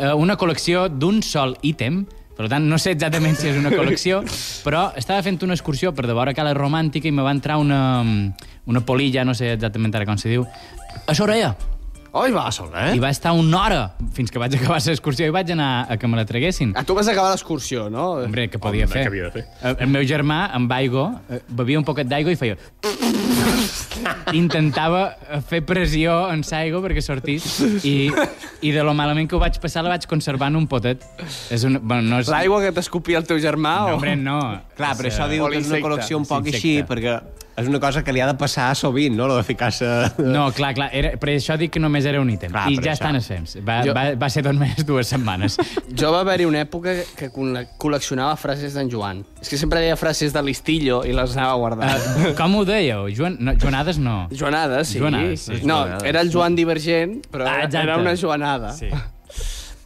S2: Eh, una col·lecció d'un sol ítem, per tant, no sé exactament si és una col·lecció, però estava fent una excursió per de vora Cala Romàntica i me va entrar una, una polilla, no sé exactament ara com se diu, a l'orella.
S4: Oi, va, sobre,
S2: I
S3: eh?
S2: va estar una hora fins que vaig acabar l'excursió i vaig anar a que me la treguessin.
S4: A tu vas acabar l'excursió, no?
S2: Hombre, que podia
S4: Hombre,
S2: fer.
S4: que havia de fer.
S2: Eh, El meu germà, amb aigua, eh, bevia un poquet d'aigua i feia... Intentava eh, fer pressió en l'aigua perquè sortís i, i de lo malament que ho vaig passar la vaig conservar en un potet. És una, bueno, no és...
S4: L'aigua que t'escopia el teu germà
S2: No,
S4: o...
S2: hombre, no.
S3: Clar, però
S2: És,
S3: això
S2: eh,
S3: diu que és una
S2: polinsecte.
S3: col·lecció un poc així,
S2: Insecte.
S3: perquè és una cosa que li ha de passar sovint, no?, lo de ficar-se...
S2: No, clar, clar, era, per això dic que només era un ítem.
S3: Clar,
S2: I
S3: per
S2: ja
S3: això.
S2: estan els temps. Va,
S4: Jo-
S2: jo... va, va ser tot més dues setmanes.
S4: Jo va haver-hi una època que col- col·leccionava frases d'en Joan. És que sempre deia frases de l'Istillo i les anava guardant.
S2: Uh, com ho dèieu? Joan, no, Joanades no.
S4: Ah, Joanades, sí.
S2: Joanades, sí.
S4: No, era el Joan Divergent, però
S2: Ah,
S4: ah,
S2: exacte.
S4: era una joanada. Sí.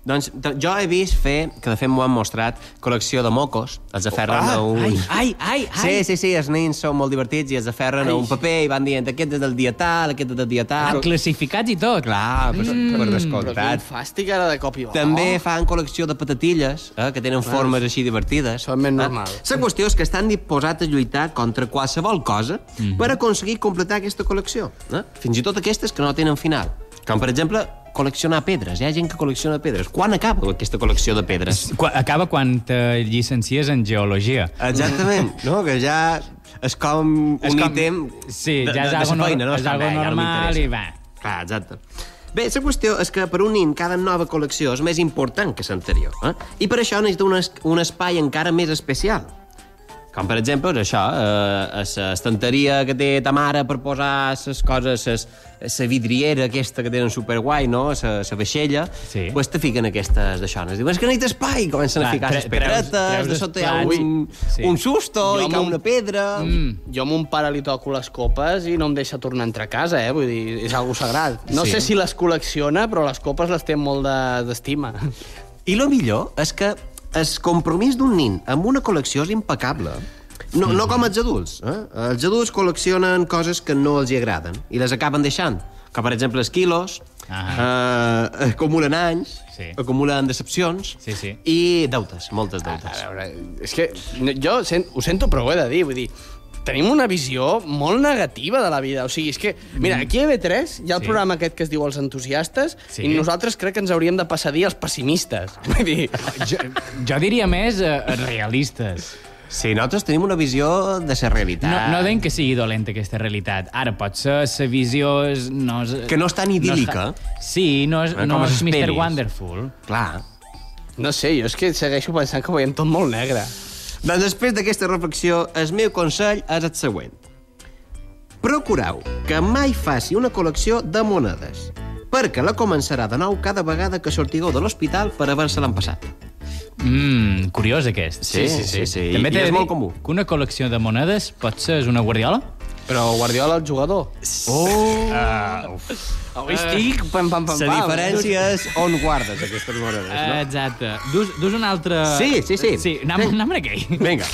S3: Doncs t- jo he vist fer, que de fet m'ho han mostrat, col·lecció de mocos. Els aferren
S4: Ah,
S3: a un...
S4: ai,
S3: Oh, ai, ai, Sí, sí, sí, els nens són molt divertits i els aferren a un paper i van dient aquest és del dia tal, aquest és del dia tal...
S2: Ah, classificats i tot.
S3: Clar, per, mm. per descomptat.
S4: Fàstic ara de cop i volta.
S3: També fan col·lecció de patatilles, eh, que tenen formes així divertides. Són més
S4: normal.
S3: La qüestió és que estan disposats a lluitar contra qualsevol cosa
S2: Mhm.
S3: per aconseguir completar aquesta col·lecció. Eh? Fins i tot aquestes que no tenen final. Com, per exemple, col·leccionar pedres. Hi ha gent que col·lecciona pedres. Quan acaba aquesta col·lecció de pedres?
S2: Qua- Acaba quan te llicencies en geologia.
S3: Exactament, no? Que ja és com
S2: És
S3: un
S2: com-
S3: ítem
S2: sí,
S3: de,
S2: ja és
S3: de, de
S2: algo
S3: sa
S2: nor-
S3: feina, no?
S2: és
S3: Està
S2: algo
S3: bé, ja no
S2: normal
S3: m'interessa.
S2: i va.
S3: Clar, Ah, exacte. Bé, la qüestió és que per un nin cada nova col·lecció és més important que l'anterior. Eh? I per això necessita un, es un espai encara més especial. Com, per exemple, és això, eh, l'estanteria que té ta mare per posar les coses, ses, la vidriera aquesta que tenen superguai, no?, la vaixella, sí. pues te fiquen aquestes d'això. Es diuen, és que necessita espai, i comencen a
S4: Clar,
S3: ficar
S4: tre-
S3: les pedretes,
S4: treus- treus
S3: de sota hi ha
S4: esplats.
S3: un,
S4: Sí.
S3: sí. un susto,
S4: Jo
S3: i cau
S4: amb-
S3: una pedra... Mm.
S4: Jo a mon pare li toco les copes i no em deixa tornar a entrar a casa, eh? Vull dir, és algo sagrat. No
S3: Sí.
S4: sé si les col·lecciona, però les copes les té amb molt de- d'estima. De,
S3: I lo millor és que el compromís d'un nin amb una col·lecció és impecable. No, no com els adults. Eh? Els adults col·leccionen coses que no els hi agraden i les acaben deixant. Com, per exemple, els quilos, ah. eh, acumulen anys, sí. acumulen decepcions sí, sí. i deutes, moltes deutes.
S4: Ah, a veure, és que no- jo sent, ho sento, però ho he de dir, vull dir, tenim una visió molt negativa de la vida. O sigui, és que,
S3: Mm.
S4: mira, aquí a B3 hi ha el sí. programa aquest que es diu Els entusiastes sí. i nosaltres crec que ens hauríem de passar a dir els pessimistes. Vull dir...
S2: Jo, jo diria més eh, realistes.
S3: Sí, nosaltres tenim una visió de la realitat.
S2: No, no deim que sigui dolenta aquesta realitat. Ara, pot ser la visió... És, no és,
S3: Que no és tan
S2: No
S3: idíl·lica. Ah,
S2: és, sí, no és,
S3: Com
S2: no és
S3: les
S2: Mr.
S3: pelis.
S2: Wonderful.
S3: Clar.
S4: No sé, jo és que segueixo pensant que ho veiem tot molt negre.
S3: Doncs després d'aquesta reflexió, el meu consell és el següent. Procureu que mai faci una col·lecció de monedes, perquè la començarà de nou cada vegada que sortigueu de l'hospital per haver-se l'empassat.
S2: Mm, curiós, aquest.
S3: Sí, sí, sí, sí.
S2: També
S3: I
S2: t'he de
S3: és
S2: dir
S3: molt comú.
S2: que una col·lecció de monedes pot ser és una guardiola?
S4: Però Guardiola, el jugador.
S2: Oh!
S3: Uh,
S4: Avui Oh, estic... Pam, pam, pam,
S3: Eh.
S4: Eh,
S3: La
S4: pam.
S3: diferència és on guardes aquestes monedes, no?
S2: Exacte. Dus, dus un altre...
S3: Sí, sí, sí.
S2: Sí, anem, anem en aquell.
S3: Vinga.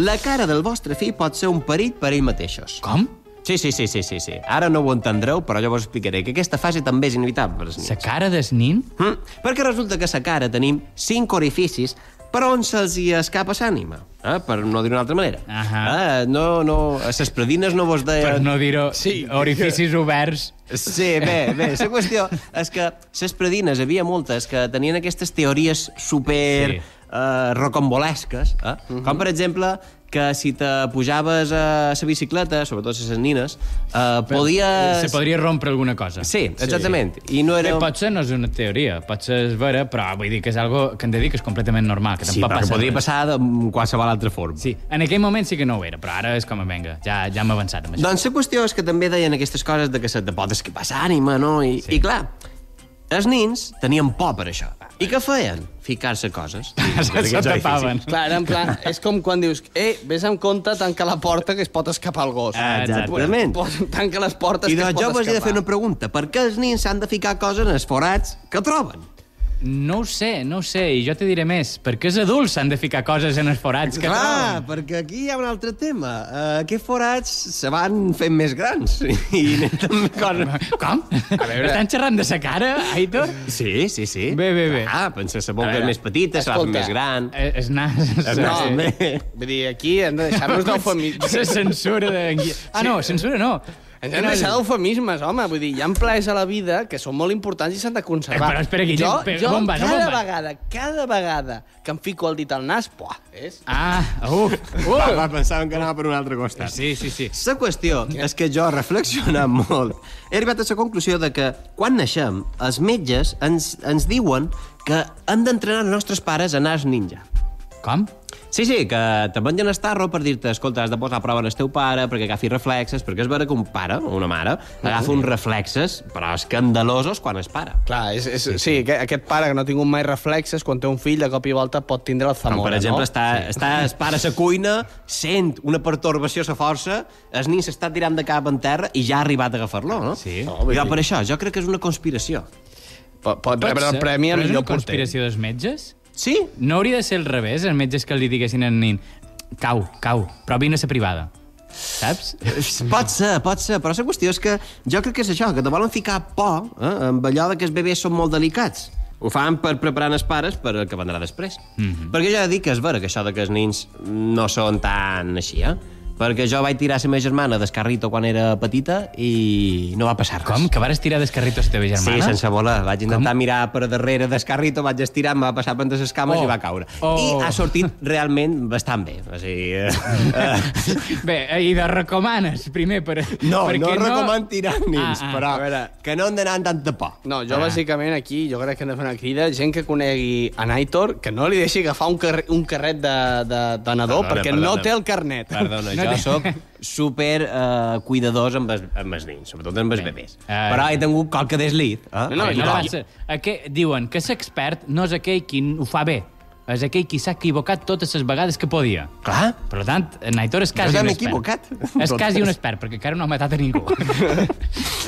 S3: La cara del vostre fill pot ser un perill per ell mateixos.
S2: Com?
S3: Sí, sí, sí, sí, sí, sí. Ara no ho entendreu, però jo vos explicaré que aquesta fase també és inevitable. La
S2: cara dels nins?
S3: Mm, perquè resulta que a la cara tenim cinc orificis per on se'ls hi escapa l'ànima, eh? per no dir-ho d'una altra manera. Uh -huh. eh? No, no, a les predines no vos deien...
S2: Per no dir-ho, orificis oberts.
S3: Sí, bé, bé. La qüestió és que les predines, hi havia moltes que tenien aquestes teories super... Sí. Uh, rocambolesques, eh? Uh -huh. com per exemple que si te pujaves a la bicicleta, sobretot a les nines, eh, podies...
S2: Se podria rompre alguna cosa.
S3: Sí, exactament. I no era...
S2: Bé, potser no és una teoria, potser és vera, però vull dir que és algo que en dedic és completament normal, que
S3: Sí,
S2: tampoc
S3: però que
S2: passa
S3: podria
S2: res.
S3: passar de qualsevol altra forma.
S2: Sí, en aquell moment sí que no ho era, però ara és com, venga, ja, ja hem avançat amb això.
S3: Doncs la qüestió és que també deien aquestes coses de que se te pot escapar l'ànima, no? I, sí. I clar, els nins tenien por per això. I què feien? Ficar-se coses.
S4: Se
S3: tapaven.
S4: Clar, era en plan, és com quan dius, eh, vés amb compte, tanca la porta que es pot escapar el gos.
S3: Ah, Exactament.
S4: Bueno, Tanca les portes
S3: I
S4: que es
S3: doncs
S4: pot
S3: jo vos he de
S4: escapar.
S3: fer una pregunta. Per què els nins s'han de ficar coses en els forats que troben?
S2: No ho sé, no ho sé, i jo te diré més. Per què els adults s'han de ficar coses en els forats que
S3: Clar,
S2: troben?
S3: perquè aquí hi ha un altre tema. Uh, aquests forats se van fent més grans. I també coses...
S2: Com? A veure... Estan xerrant de sa cara, Aitor?
S3: Sí, sí, sí.
S2: Bé, bé, bé.
S3: Ah, pensa, la boca és més petita, se la fa
S2: Escolta,
S3: més gran.
S2: eh, Es nas...
S3: No, home.
S4: Vull dir, aquí hem de deixar-nos d'eufemismes.
S2: Doncs Se censura de... Ah, no, censura no.
S4: Ens hem de deixar d'eufemismes, home. Vull dir, hi ha plaers a la vida que són molt importants i s'han de conservar.
S2: Eh, però espera, Guillem,
S4: jo,
S2: espera,
S4: jo
S2: on vas,
S4: cada
S2: on vas?
S4: vegada, cada vegada que em fico el dit al nas, buah, és...
S2: Ah, uf, uf.
S3: Va, va, pensàvem que anava per un altre costat.
S2: Sí, sí, sí.
S3: La qüestió és que jo, reflexionant molt, he arribat a la conclusió de que quan naixem, els metges ens, ens diuen que hem d'entrenar els nostres pares a nas ninja.
S2: Com?
S3: Sí, sí, que te mengen el tarro per dir-te escolta, has de posar a prova en el teu pare perquè agafi reflexes, perquè és vera que un pare o una mare agafa uns reflexes però escandalosos quan es para.
S4: Clar, és, és, sí, sí, que aquest pare que no ha tingut mai reflexes, quan té un fill, de cop i volta pot tindre el
S3: Com,
S4: famós.
S3: per exemple,
S4: no?
S3: està, sí. està es para a la cuina, sent una pertorbació a la força, el nin s'està tirant de cap en terra i ja ha arribat a agafar-lo, no? Sí. Oh,
S4: vull
S3: jo,
S4: dir-
S3: per això, jo crec que és una conspiració.
S4: Pot, pot
S2: Pot ser, però és una conspiració dels metges?
S3: Sí?
S2: No hauria de ser al revés, els metges que li diguessin al nin cau, cau, però vine a ser privada. Saps?
S3: Pot ser, pot ser, però la qüestió és que jo crec que és això, que te volen ficar por eh, amb allò de que els bebès són molt delicats. Ho fan per preparar els pares per el que vendrà després. Mhm. Perquè jo he de dir que és vera que això de que els nins no són tan així, eh? Perquè jo vaig tirar a la meva germana d'escarrito quan era petita i no va passar res.
S2: Com? Que vares tirar d'escarrito a la teva germana?
S3: Sí, sense voler. Vaig intentar Com? mirar per darrere d'escarrito, vaig estirar, em va passar per entre les cames
S2: Oh.
S3: oh. i va caure.
S2: Oh.
S3: Oh. I ha sortit realment bastant bé. O sigui, eh, eh,
S2: Bé, eh, i de recomanes, primer, per,
S3: no,
S2: perquè
S3: no recomano tirar nins,
S2: Ah, ah.
S3: però
S4: a veure.
S3: que no han d'anar amb tanta por.
S4: No, jo
S3: Ah.
S4: bàsicament aquí, jo crec que hem de fer una crida, gent que conegui en Aitor, que no li deixi agafar un, carre, un carret de, de, de nadó,
S3: Perdona,
S4: perquè
S3: perdona.
S4: no té el carnet.
S3: Perdona, jo
S4: no té-
S3: sóc super eh, cuidadós amb els, amb els nins, sobretot amb els bebès.
S2: Ah.
S3: Però he tingut qualque deslit. Eh?
S2: No, no,
S3: I
S2: no
S3: com-
S2: passa. Aquell, diuen que l'expert no és aquell qui ho fa bé, és aquell qui s'ha equivocat totes les vegades que podia.
S3: Clar.
S2: Per tant, en Aitor és quasi
S3: Jo ja
S2: un
S3: m'he
S2: expert.
S3: equivocat.
S2: És quasi un expert, perquè encara no ha matat a ningú.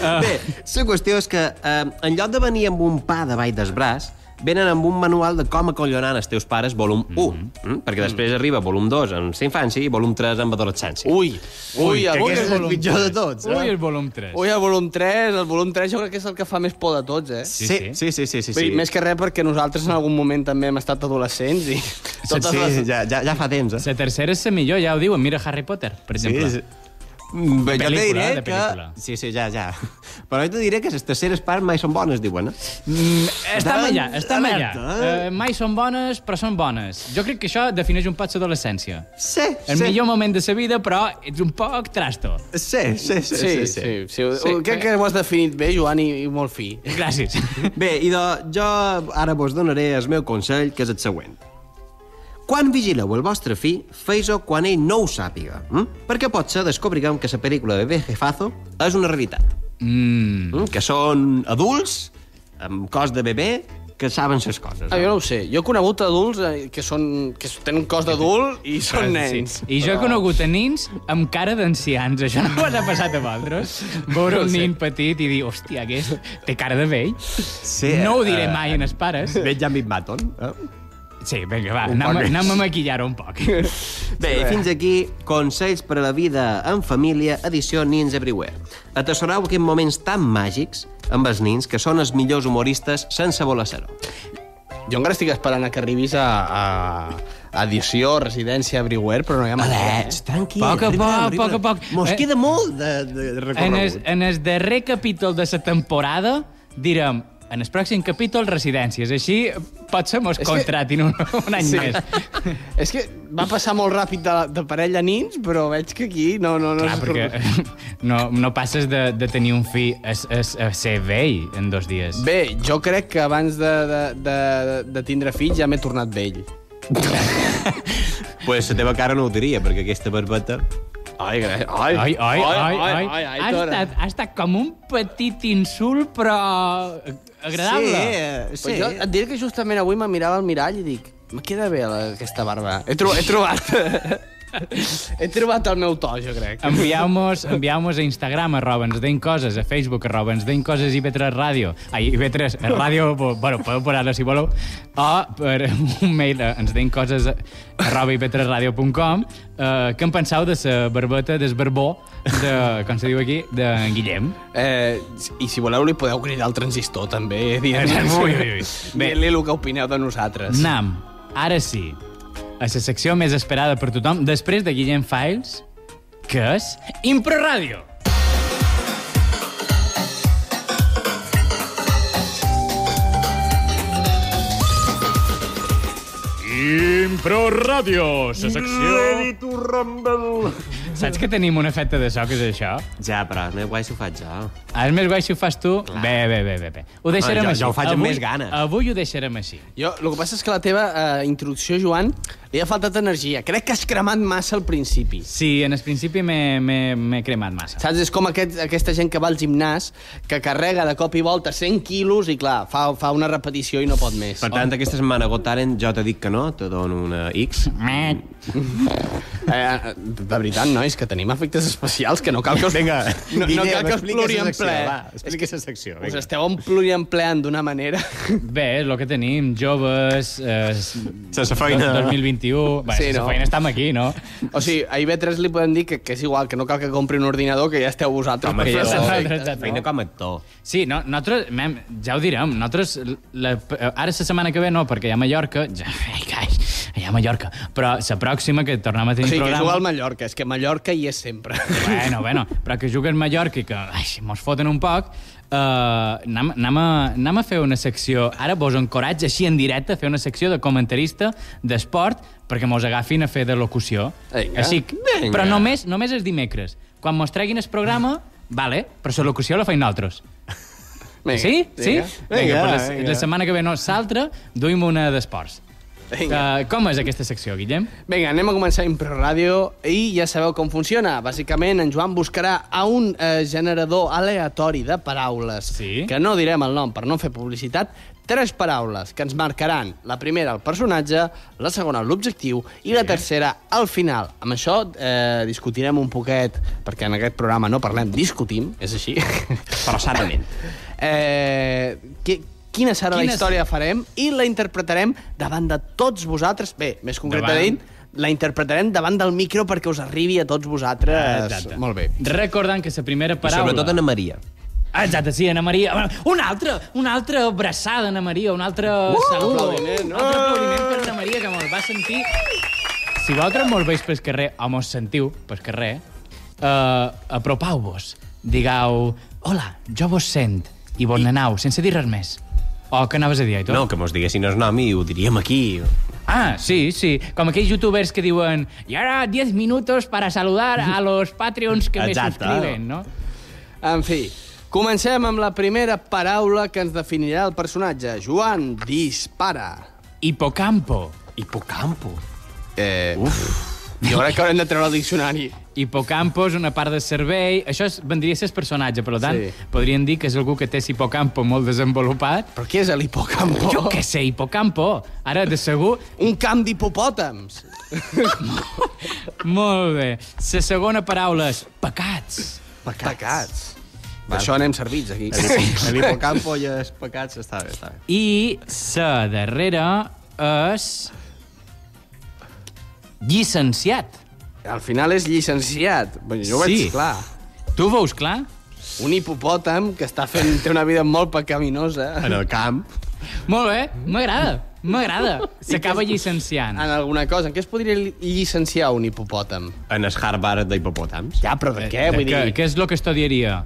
S3: Bé, la qüestió és que eh, en lloc de venir amb un pa davall del braç, venen amb un manual de com acollonar els teus pares volum 1, mm -hmm. mm? perquè després arriba volum 2 en la infància i volum 3 amb adolescència.
S4: Ui, ui,
S3: que
S4: avui
S3: aquest
S4: és
S3: és el
S4: volum
S3: pitjor de
S4: tres.
S3: tots.
S2: Ui,
S3: Eh?
S2: el volum 3.
S4: Ui, el volum 3, el volum 3 jo crec que és el que fa més por de tots, eh?
S3: Sí, sí, sí, sí, sí,
S4: Vull
S3: sí.
S4: dir, Més que res perquè nosaltres en algun moment també hem estat adolescents i... Totes
S3: sí,
S4: les...
S3: ja, ja, ja fa temps, eh?
S2: La tercera és la millor, ja ho diuen. Mira Harry Potter, per exemple.
S3: sí. Mm, Bé, jo
S2: Pel·lícula,
S3: te
S2: eh,
S3: diré
S2: de
S3: que...
S2: pel·lícula.
S3: Sí, sí, ja, ja. Però jo te diré que les terceres parts mai són bones, diuen, eh?
S2: Mm, estem
S3: Doncs,
S2: allà, estem allà.
S3: alerta,
S2: Eh, mai són bones, però són bones. Jo crec que això defineix un poc l'adolescència.
S3: Sí,
S2: El
S3: sí.
S2: millor moment de sa vida, però ets un poc trasto.
S3: Sí, sí, sí.
S4: Sí, sí, sí. sí. sí. Crec que ho has definit bé, Joan, i, i molt fi.
S2: Gràcies.
S3: Bé, idò, jo ara vos donaré el meu consell, que és el següent. Quan vigileu el vostre fill, feis-ho quan ell no ho sàpiga. Hm? Perquè potser descobrirem que la pel·lícula de Bebé Jefazo és una realitat.
S2: Mm.
S3: Hm? Que són adults, amb cos de bebè, que saben ses coses.
S4: Ah, jo no ho sé. Jo he conegut adults eh, que, són, que tenen cos d'adult i són nens.
S2: I jo he conegut a nins amb cara d'ancians. Això no us ha passat a vosaltres? Veure un nin petit i dir, hòstia, aquest té cara de vell.
S3: Sí,
S2: no ho diré
S3: eh,
S2: mai en els pares.
S3: Benjamin Button. Eh?
S2: Sí, vinga, va,
S3: Un
S2: anem,
S3: poc més.
S2: anem a maquillar un poc.
S3: Bé, i fins aquí Consells per a la vida en família, edició Nins Everywhere. Atessorau aquests moments tan màgics amb els nins, que són els millors humoristes sense voler ser-ho.
S4: Jo encara estic esperant a que arribis a, a, a edició, residència, everywhere, però no hi ha manera. eh?
S3: Aleix, tranquil.
S2: Poc a poc, poc a poc.
S3: Mos
S2: Eh?
S3: queda molt de, de
S2: En el,
S3: recorregut.
S2: en el darrer capítol de la temporada direm en el pròxim capítol, residències. Així potser mos
S4: que-
S2: contratin un, un any sí.
S4: Sí.
S2: més.
S4: És que va passar molt ràpid de, de parella a nins, però veig que aquí no... no, no
S2: Clar,
S4: es-
S2: perquè no, no passes de, de tenir un fill a, a, a ser vell en dos dies.
S4: Bé, jo crec que abans de, de, de, de tindre fills ja m'he tornat vell.
S3: Pues la teva cara no ho diria, perquè aquesta barbeta... Ai, ai, ai,
S2: Ai, ai, ai, ai.
S4: ai, ai,
S2: Ha
S4: Tora.
S2: estat, ha estat com un petit insult, però agradable.
S4: Sí, eh? sí. Pues jo et diré que justament avui me mirava al mirall i dic me queda bé la- aquesta barba. He, tro he trobat... he trobat el meu to, jo crec.
S2: Envieu-nos envieu a Instagram, arroba ens deim coses, a Facebook, arroba ens deim coses i vetres ràdio. Ai, i vetres ràdio, bo- bueno, podeu posar-la si voleu, o per un mail a ens deim coses arroba i vetresradio.com eh, què en penseu de la barbeta, del barbó, de, com se diu aquí, de Guillem?
S4: Eh, I si voleu li podeu cridar al transistor, també, dient
S2: Ui, ui, ui. Bé.
S4: Dient-li el que opineu de nosaltres.
S2: Nam, ara sí, a la secció més esperada per tothom, després de Guillem Files, que és Impro Ràdio. Impro Ràdio, la
S3: secció...
S2: Mm. Saps que tenim una feta de so, que és això?
S3: Ja, però no és guai si ho faig jo.
S2: És més guai si ho fas tu? Clar. Bé, bé, bé, bé, bé. Ho deixarem
S3: Ah, jo-
S2: així.
S3: jo ho faig amb
S2: avui,
S3: més ganes.
S2: Avui ho deixarem així.
S4: Jo, el que passa és que la teva eh, introducció, Joan, li ha faltat energia. Crec que has cremat massa al principi.
S2: Sí, en el principi m'he- m'he m'he cremat massa.
S4: Saps? És com aquest, aquesta gent que va al gimnàs, que carrega de cop i volta 100 quilos i, clar, fa, fa una repetició i no pot més.
S3: Per tant, aquesta setmana Gotaren jo t'he dit que no, te dono una X.
S4: Eh, eh, de veritat, nois, que tenim efectes especials que no cal que us...
S3: Vinga,
S4: no, no
S3: Guillem,
S4: cal que us
S3: explica
S4: pluri
S3: la
S4: en
S3: secció,
S4: ple.
S3: va, explica la secció,
S4: Us
S3: vinga.
S4: esteu pluriempleant d'una manera...
S2: Bé, és el que tenim, joves... Eh, Sense
S4: feina.
S2: 2021... Bé, sí,
S4: Sí,
S2: sense
S4: no?
S2: no? feina estem aquí, no?
S4: O sigui, a IB3 li podem dir que, que és igual, que no cal que compri un ordinador, que ja esteu vosaltres.
S2: Home,
S4: per
S2: ja
S4: fer
S2: esteu
S4: els
S2: vosaltres,
S4: efectes,
S2: feina
S4: no?
S3: Com a actor.
S2: Sí, no, nosaltres, mem, ja ho direm, nosaltres, la, ara la setmana que ve no, perquè hi ha Mallorca, ja, ai, ai, hi ha Mallorca, però la pròxima que tornem a
S4: O
S2: tenir
S4: sigui, que
S2: programa...
S4: juga al Mallorca, és que Mallorca hi és sempre.
S2: Bueno, bueno, però que juguen Mallorca i que ai, mos foten un poc, uh, anem, anem, a, anem a fer una secció, ara vos encoratge així en directe a fer una secció de comentarista d'esport perquè mos agafin a fer de locució.
S4: Vinga.
S2: Així, que-
S4: Vinga.
S2: però només, només els dimecres. Quan mos treguin el programa, vale, però la locució la feim nosaltres.
S4: Vinga,
S2: sí? Sí?
S4: vinga. Vinga, eh,
S2: pues la,
S4: vinga.
S2: la setmana que ve no, l'altra, duim una d'esports.
S4: Vinga.
S2: Uh, com és aquesta secció, Guillem?
S4: Vinga, anem a començar Impro Ràdio i ja sabeu com funciona. Bàsicament, en Joan buscarà a un eh, generador aleatori de paraules, sí? que no direm el nom per no fer publicitat, tres paraules que ens marcaran la primera el personatge, la segona l'objectiu i la tercera al final. Amb això eh, discutirem un poquet, perquè en aquest programa no parlem, discutim, és així.
S3: Però sanament.
S4: Eh, qui, quina serà
S2: Quina
S4: la història farem i la interpretarem davant de tots vosaltres. Bé, més concretament, la interpretarem davant del micro perquè us arribi a tots vosaltres.
S2: Exacte.
S4: Molt bé.
S2: Recordant que la primera
S3: I
S2: paraula...
S3: sobretot Anna Maria.
S2: Ah, Exacte, sí, Anna Maria. Una altra, una altra abraçada, Anna Maria, un altre uh! saludo.
S4: Aplaudiment,
S2: Un altre aplaudiment per Anna Maria, que me'l va sentir. Si vosaltres mos veus pel carrer, o mos sentiu pel carrer, eh, apropau-vos, digueu, hola, jo vos sent, i bon nanau, sense dir res més. O què anaves a dir, Aitor?
S3: No, que mos diguessin el nom i ho diríem aquí.
S2: Ah, sí, sí. Com aquells youtubers que diuen i ara 10 minutos para saludar a los patreons que me
S4: Exacte.
S2: subscriben, no?
S4: En fi, comencem amb la primera paraula que ens definirà el personatge. Joan, dispara.
S2: Hipocampo.
S3: Hipocampo?
S4: Eh, Uf. Jo crec que haurem de treure el diccionari.
S2: Hipocampo és una part del cervell. Això és, vendria a ser el personatge, per tant,
S4: Sí.
S2: sí. podrien dir que és algú que té l'hipocampo molt desenvolupat.
S4: Però què és l'hipocampo?
S2: Jo què sé, hipocampo. Ara, de segur...
S4: Un camp d'hipopòtams.
S2: molt bé. La segona paraula és pecats.
S4: Pecats. Pecats. D'això anem servits, aquí.
S3: L'hipocampo i els pecats està bé, està bé.
S2: I la darrera és... llicenciat.
S4: Al final és llicenciat. Bé, Jo ho veig
S2: Sí.
S4: clar.
S2: Tu ho veus clar?
S4: Un hipopòtam que està fent... té una vida molt pecaminosa. En el camp.
S2: Molt bé, m'agrada, m'agrada. S'acaba llicenciant.
S4: En alguna cosa. En què es podria li- llicenciar un hipopòtam?
S3: En el Harvard d'hipopòtams.
S4: Ja, però de
S3: eh,
S4: què? Vull
S2: Què,
S4: dir...
S2: què és el que estudiaria?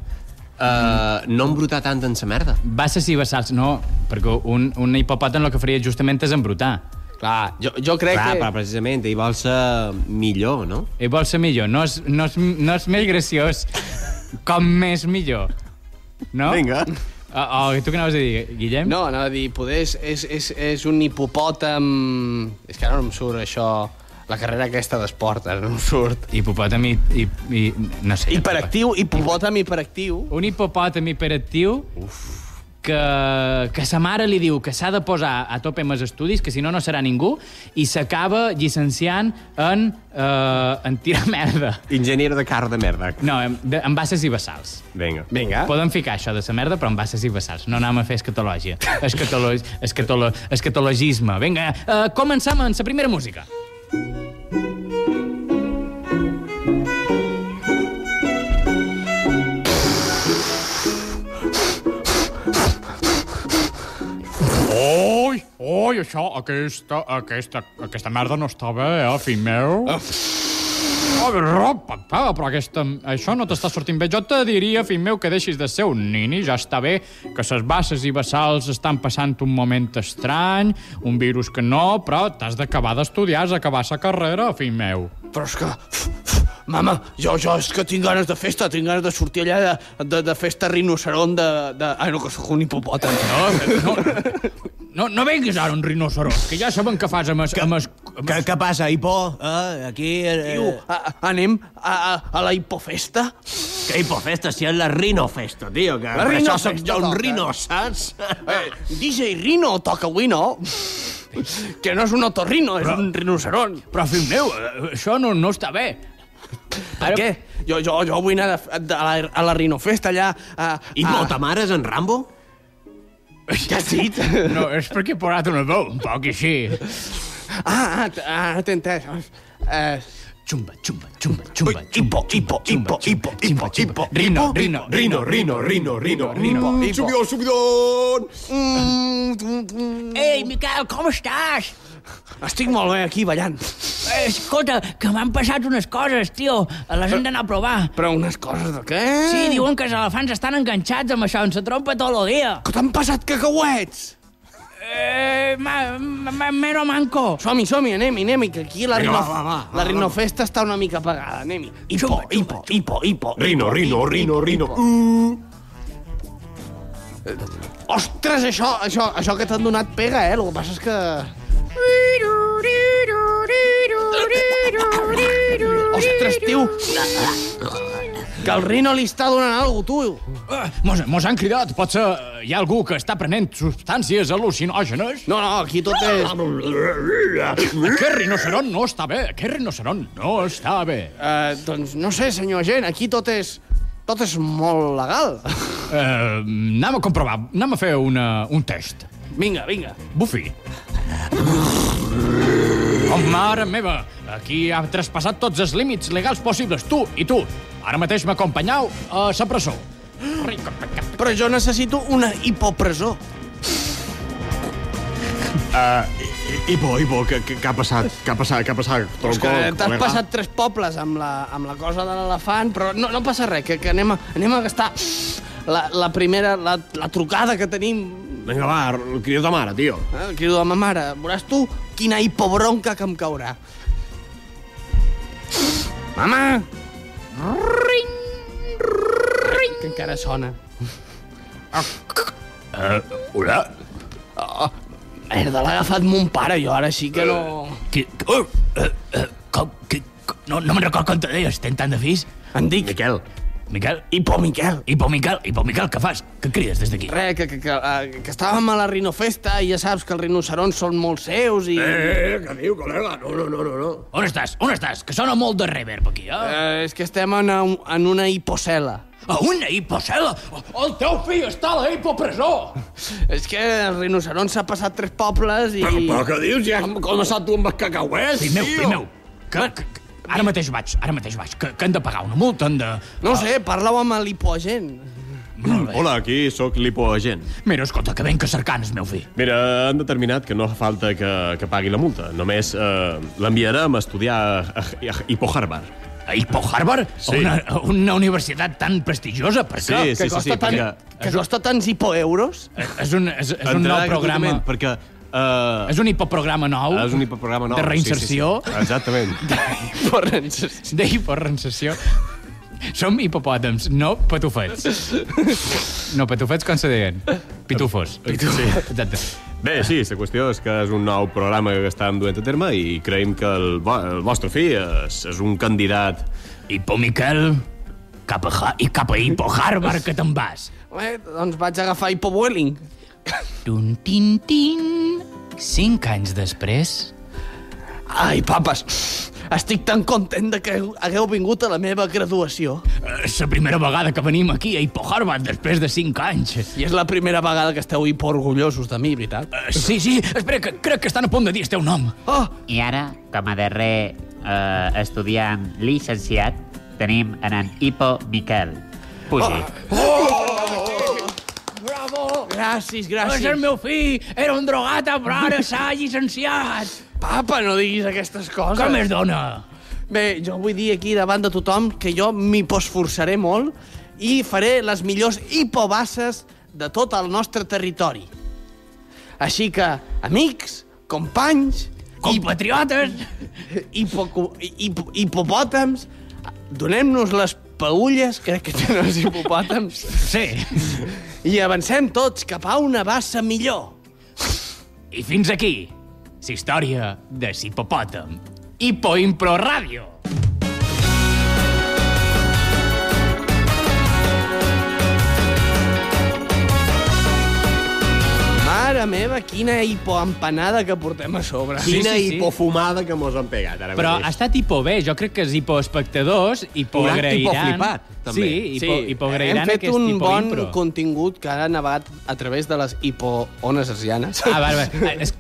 S3: Uh, no embrutar tant en sa merda.
S2: Basses i bassals, no, perquè un, un hipopòtam el que faria justament és embrutar.
S4: Clar, jo, jo crec
S3: Clar,
S2: que...
S3: però precisament, ell vol ser millor, no?
S2: Ell vol ser millor, no és, no és, no és més graciós, com més millor. No?
S4: Vinga.
S2: Oh, tu què anaves a dir, Guillem?
S4: No, anava a dir, poder és, és, és, és un hipopòtam... És que ara no em surt això... La carrera aquesta d'esport, ara no em surt.
S2: Hipopòtam i... i, i no sé.
S4: Hiperactiu, hipopòtam hiperactiu.
S2: Un hipopòtam hiperactiu Uf. Que, que sa mare li diu que s'ha de posar a tope amb els estudis, que si no, no serà ningú, i s'acaba llicenciant en, eh, en tirar merda.
S3: Enginyer de car de merda.
S2: No, en, de, en basses i bassals.
S3: Vinga.
S4: Vinga.
S2: Poden ficar això de sa merda, però en basses i bassals. No anem a fer escatologia. Escatolo, escatolo, escatologisme. Vinga, uh, començam amb la primera música.
S13: Oi, oi, això, aquesta, aquesta, aquesta merda no està bé, eh, fill meu. Oh, ropa, pa, però aquesta, això no t'està sortint bé. Jo te diria, fill meu, que deixis de ser un nini, ja està bé, que ses basses i bassals estan passant un moment estrany, un virus que no, però t'has d'acabar d'estudiar, has d'acabar sa carrera, fill meu.
S4: Però és que... Mama, jo, jo és que tinc ganes de festa, tinc ganes de sortir allà de, de, de festa rinoceron de, de... Ai, no, que sóc un hipopòtam.
S2: No, No, no venguis ara un rinoceros, que ja saben què fas amb... Es, amb, es, amb
S3: es... Què passa, hipo? Eh, aquí... Eh...
S4: Tio, a, a- anem a, a, a la hipofesta?
S3: Que hipofesta, si és la rinofesta, tio, que
S4: La
S3: per
S4: Rino
S3: això soc
S4: Festa
S3: jo un
S4: toca.
S3: rino, saps?
S4: Eh, DJ Rino toca avui, no? Que no és un otorrino, és un rinoceron.
S2: Però, fill meu, eh, això no, no està bé.
S4: Per què? Jo, jo, jo vull anar de, de, a, la, a la rinofesta allà... A, I a...
S3: ta mare és en Rambo?
S4: Què has dit?
S2: No, és perquè he posat una veu un poc així.
S4: Ah, ah, t- ah t'he entès. Eh...
S2: Xumba, xumba, xumba, xumba,
S4: xumba, hipo, hipo, hipo, hipo, hipo,
S2: Rino, rino, rino, rino, rino, rino, rino.
S3: Subió, subidón!
S14: Ei, Miquel, com estàs?
S4: Estic molt bé aquí ballant.
S14: Eh, Escolta, que m'han passat unes coses, tio. Les hem d'anar a provar.
S4: Però unes coses de què?
S14: Sí, diuen que els elefants estan enganxats amb això, ens trompa tot el dia.
S4: Que t'han passat cacauets?
S14: Eh, ma, ma, ma, mero manco.
S4: Som-hi, som-hi, anem-hi, anem-hi, que aquí la,
S14: Vinga,
S4: rino...
S14: va, va, va,
S4: la rinofesta està una mica apagada, anem-hi. Hipo, hipo, hipo, hipo.
S3: Rino, rino, rino, rino.
S4: Uh. Ostres, això, això, això que t'han donat pega, eh? El que passa és que... Ostres, tio! Que el rino li està donant alguna tu.
S2: Uh, mos, mos han cridat, potser eh, hi ha algú que està prenent substàncies al·lucinògenes?
S4: No, no, aquí tot és...
S2: Aquest rinoceron no està bé, aquest rinoceron no està bé.
S4: Uh, doncs no sé, senyor gent, aquí tot és... Tot és molt legal.
S2: Uh, anem a comprovar, anem a fer una, un test.
S4: Vinga, vinga.
S2: Bufi. Oh, mare meva, aquí ha traspassat tots els límits legals possibles, tu i tu. Ara mateix m'acompanyeu a la presó.
S4: Però jo necessito una hipopresó.
S13: Uh, hipo, hipo, què, què, què ha passat? Què ha passat? Què ha passat?
S4: És que t'has
S13: col·lega?
S4: passat tres pobles amb la, amb la cosa de l'elefant, però no, no passa res, que, que anem, a, anem a gastar la, la primera, la, la trucada que tenim.
S13: Vinga, va, crido ta mare, tio.
S4: Eh? El crido de ma mare, veuràs tu quina hipobronca que em caurà. Mama! Ring! Ring! Que encara sona.
S3: Eh,
S13: Uh, hola?
S3: Ah,
S4: Oh, merda, l'ha agafat mon pare, jo ara sí que no...
S14: Qui,
S3: Oh,
S14: uh,
S3: eh,
S14: uh, uh, com, qui, no, no me'n record com te deies, tenen tant de fills.
S4: Em dic...
S13: Miquel.
S15: Miquel, i por Miquel, i por Miquel, i por Miquel, què fas? Què crides des d'aquí?
S4: Re, que, que, que, eh, que estàvem a la Rinofesta i ja saps que els rinocerons són molt seus i...
S15: Eh, eh, què diu, col·lega? No, no, no, no, no. On estàs? On estàs? Que sona molt de reverb, aquí, eh?
S4: Eh, és que estem en, un- en una hipocela.
S15: A una hipocela? El teu fill està a la hipopresó!
S4: És que el rinoceront s'ha passat tres pobles i...
S15: Però- però què dius? Ja has
S4: començat tu amb els cacauets,
S15: Fill meu, fill meu, que, que, que, ara mateix vaig, ara mateix vaig, que, que hem de pagar una multa, hem de...
S4: No ho sé, parla-ho amb l'hipoagent.
S16: Hola, aquí sóc l'hipoagent.
S15: Mira, escolta, que ben que cercant és meu fill.
S16: Mira, han determinat que no fa falta que, que pagui la multa. Només eh, l'enviarem a estudiar a, a, a Hippo Harvard.
S15: A Hippo Harvard?
S16: Sí.
S15: Una, una universitat tan prestigiosa, per
S16: Sí,
S15: què?
S16: sí, Que sí, costa sí, tant-
S2: Ah.
S16: perquè-
S4: Que costa tants hipoeuros.
S15: És un, és, és un nou
S16: Entrarà
S15: programa.
S16: gratuïtament, Perquè... Uh,
S15: És un hipoprograma nou.
S16: Ah, És un hipoprograma nou.
S15: De reinserció.
S16: Sí, sí, sí. Exactament.
S4: Per reinserció.
S2: De hiperreinserció. Som hipopòtams, no patufets. No patufets, com se deien? Pitufos.
S16: Sí.
S2: Exacte.
S16: Bé, sí, la qüestió és que és un nou programa que estàvem duent a terme i creiem que el, vo el vostre fill és, és un candidat...
S15: Hippo Miquel, cap a, ha i cap a Hippo Harvard, que te'n vas.
S4: Eh, doncs vaig agafar hipobueling.
S2: Tun, tin, tin. Cinc anys després...
S4: Ai, papes, estic tan content de que hagueu vingut a la meva graduació.
S15: Eh, És la primera vegada que venim aquí a Hippo Harvard després de cinc anys.
S4: I és la primera vegada que esteu hipoorgullosos de mi, veritat?
S2: Eh,
S15: Sí, sí, espera, que crec que estan a punt de dir el teu nom.
S4: Oh!
S17: I ara, com a darrer eh, estudiant llicenciat, tenim en, en Hippo Miquel. Pugi.
S15: Bravo!
S4: Gràcies,
S2: Doncs
S15: És el meu fill, era un drogata, però ara s'ha llicenciat.
S4: Papa, no diguis aquestes coses.
S15: Com es dona?
S4: Bé, jo vull dir aquí davant de tothom que jo m'hi posforçaré molt i faré les millors hipobasses de tot el nostre territori. Així que, amics, companys...
S15: Compatriotes!
S4: Hipo, hipo, hipopòtams, donem-nos les paulles, crec que tenen els hipopòtams.
S15: Sí.
S4: I avancem tots cap a una bassa millor.
S2: I fins aquí, la història de l'hipopòtam. Hipo Impro Ràdio.
S4: Mare meva, quina hipoempanada que portem a sobre.
S2: Sí, Quina sí, sí.
S16: hipofumada que mos han pegat ara
S2: Però ha estat hipo bé, jo crec que els hipoespectadors hipogreiran...
S4: Hipoflipat, també.
S2: Sí, hipo, sí. hipogreiran
S4: Hem fet
S2: aquest
S4: un
S2: hipo
S4: bon
S2: impro.
S4: contingut que ha navegat a través de les hipoones hercianes.
S2: Ah, vale, vale. És...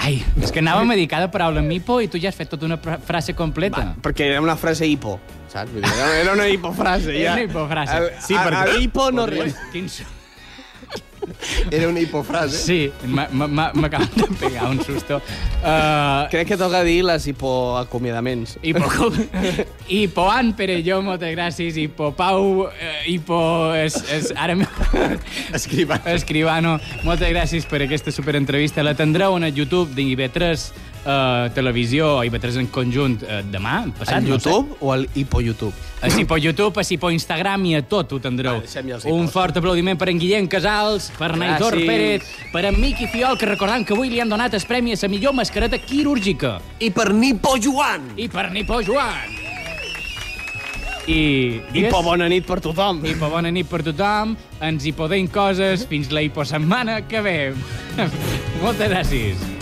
S2: Ai, és que anàvem a dir cada paraula amb hipo i tu ja has fet tota una fra- frase completa. Va,
S4: perquè era una frase hipo, saps? Vull dir, Era era una hipofrase.
S2: Era
S4: ja.
S2: una hipofrase.
S4: El, sí, perquè... El hipo no res.
S2: Quins...
S16: Era una hipofrase.
S2: Sí, m'ha- m'ha- m'ha- m'acaben de pegar un susto. Uh,
S4: Crec que toca dir les hipoacomiadaments.
S2: Hipo... Hipoan Perelló, moltes gràcies. Hipopau, eh, hipo... És, és, ara...
S16: Escribano.
S2: Escribano. Moltes gràcies per aquesta superentrevista. La tindreu a YouTube d'IB3 eh, Televisió, IB3 en conjunt, eh, demà, passat.
S4: Al
S2: no ho sé.
S4: YouTube o al hipo-YouTube?
S2: A si por YouTube, a si por Instagram i a tot ho tendreu. Un fort aplaudiment per en Guillem Casals, per Naitor
S4: Gràcies.
S2: Pérez, per en Miqui Fiol, que recordant que avui li han donat el premi a la millor mascareta quirúrgica.
S4: I per Nipo Joan.
S2: I per Nipo Joan. I...
S4: Hipo, bona nit per tothom.
S2: Hipo, bona nit per tothom. Ens hi podem coses fins la hiposetmana que ve. Moltes gràcies.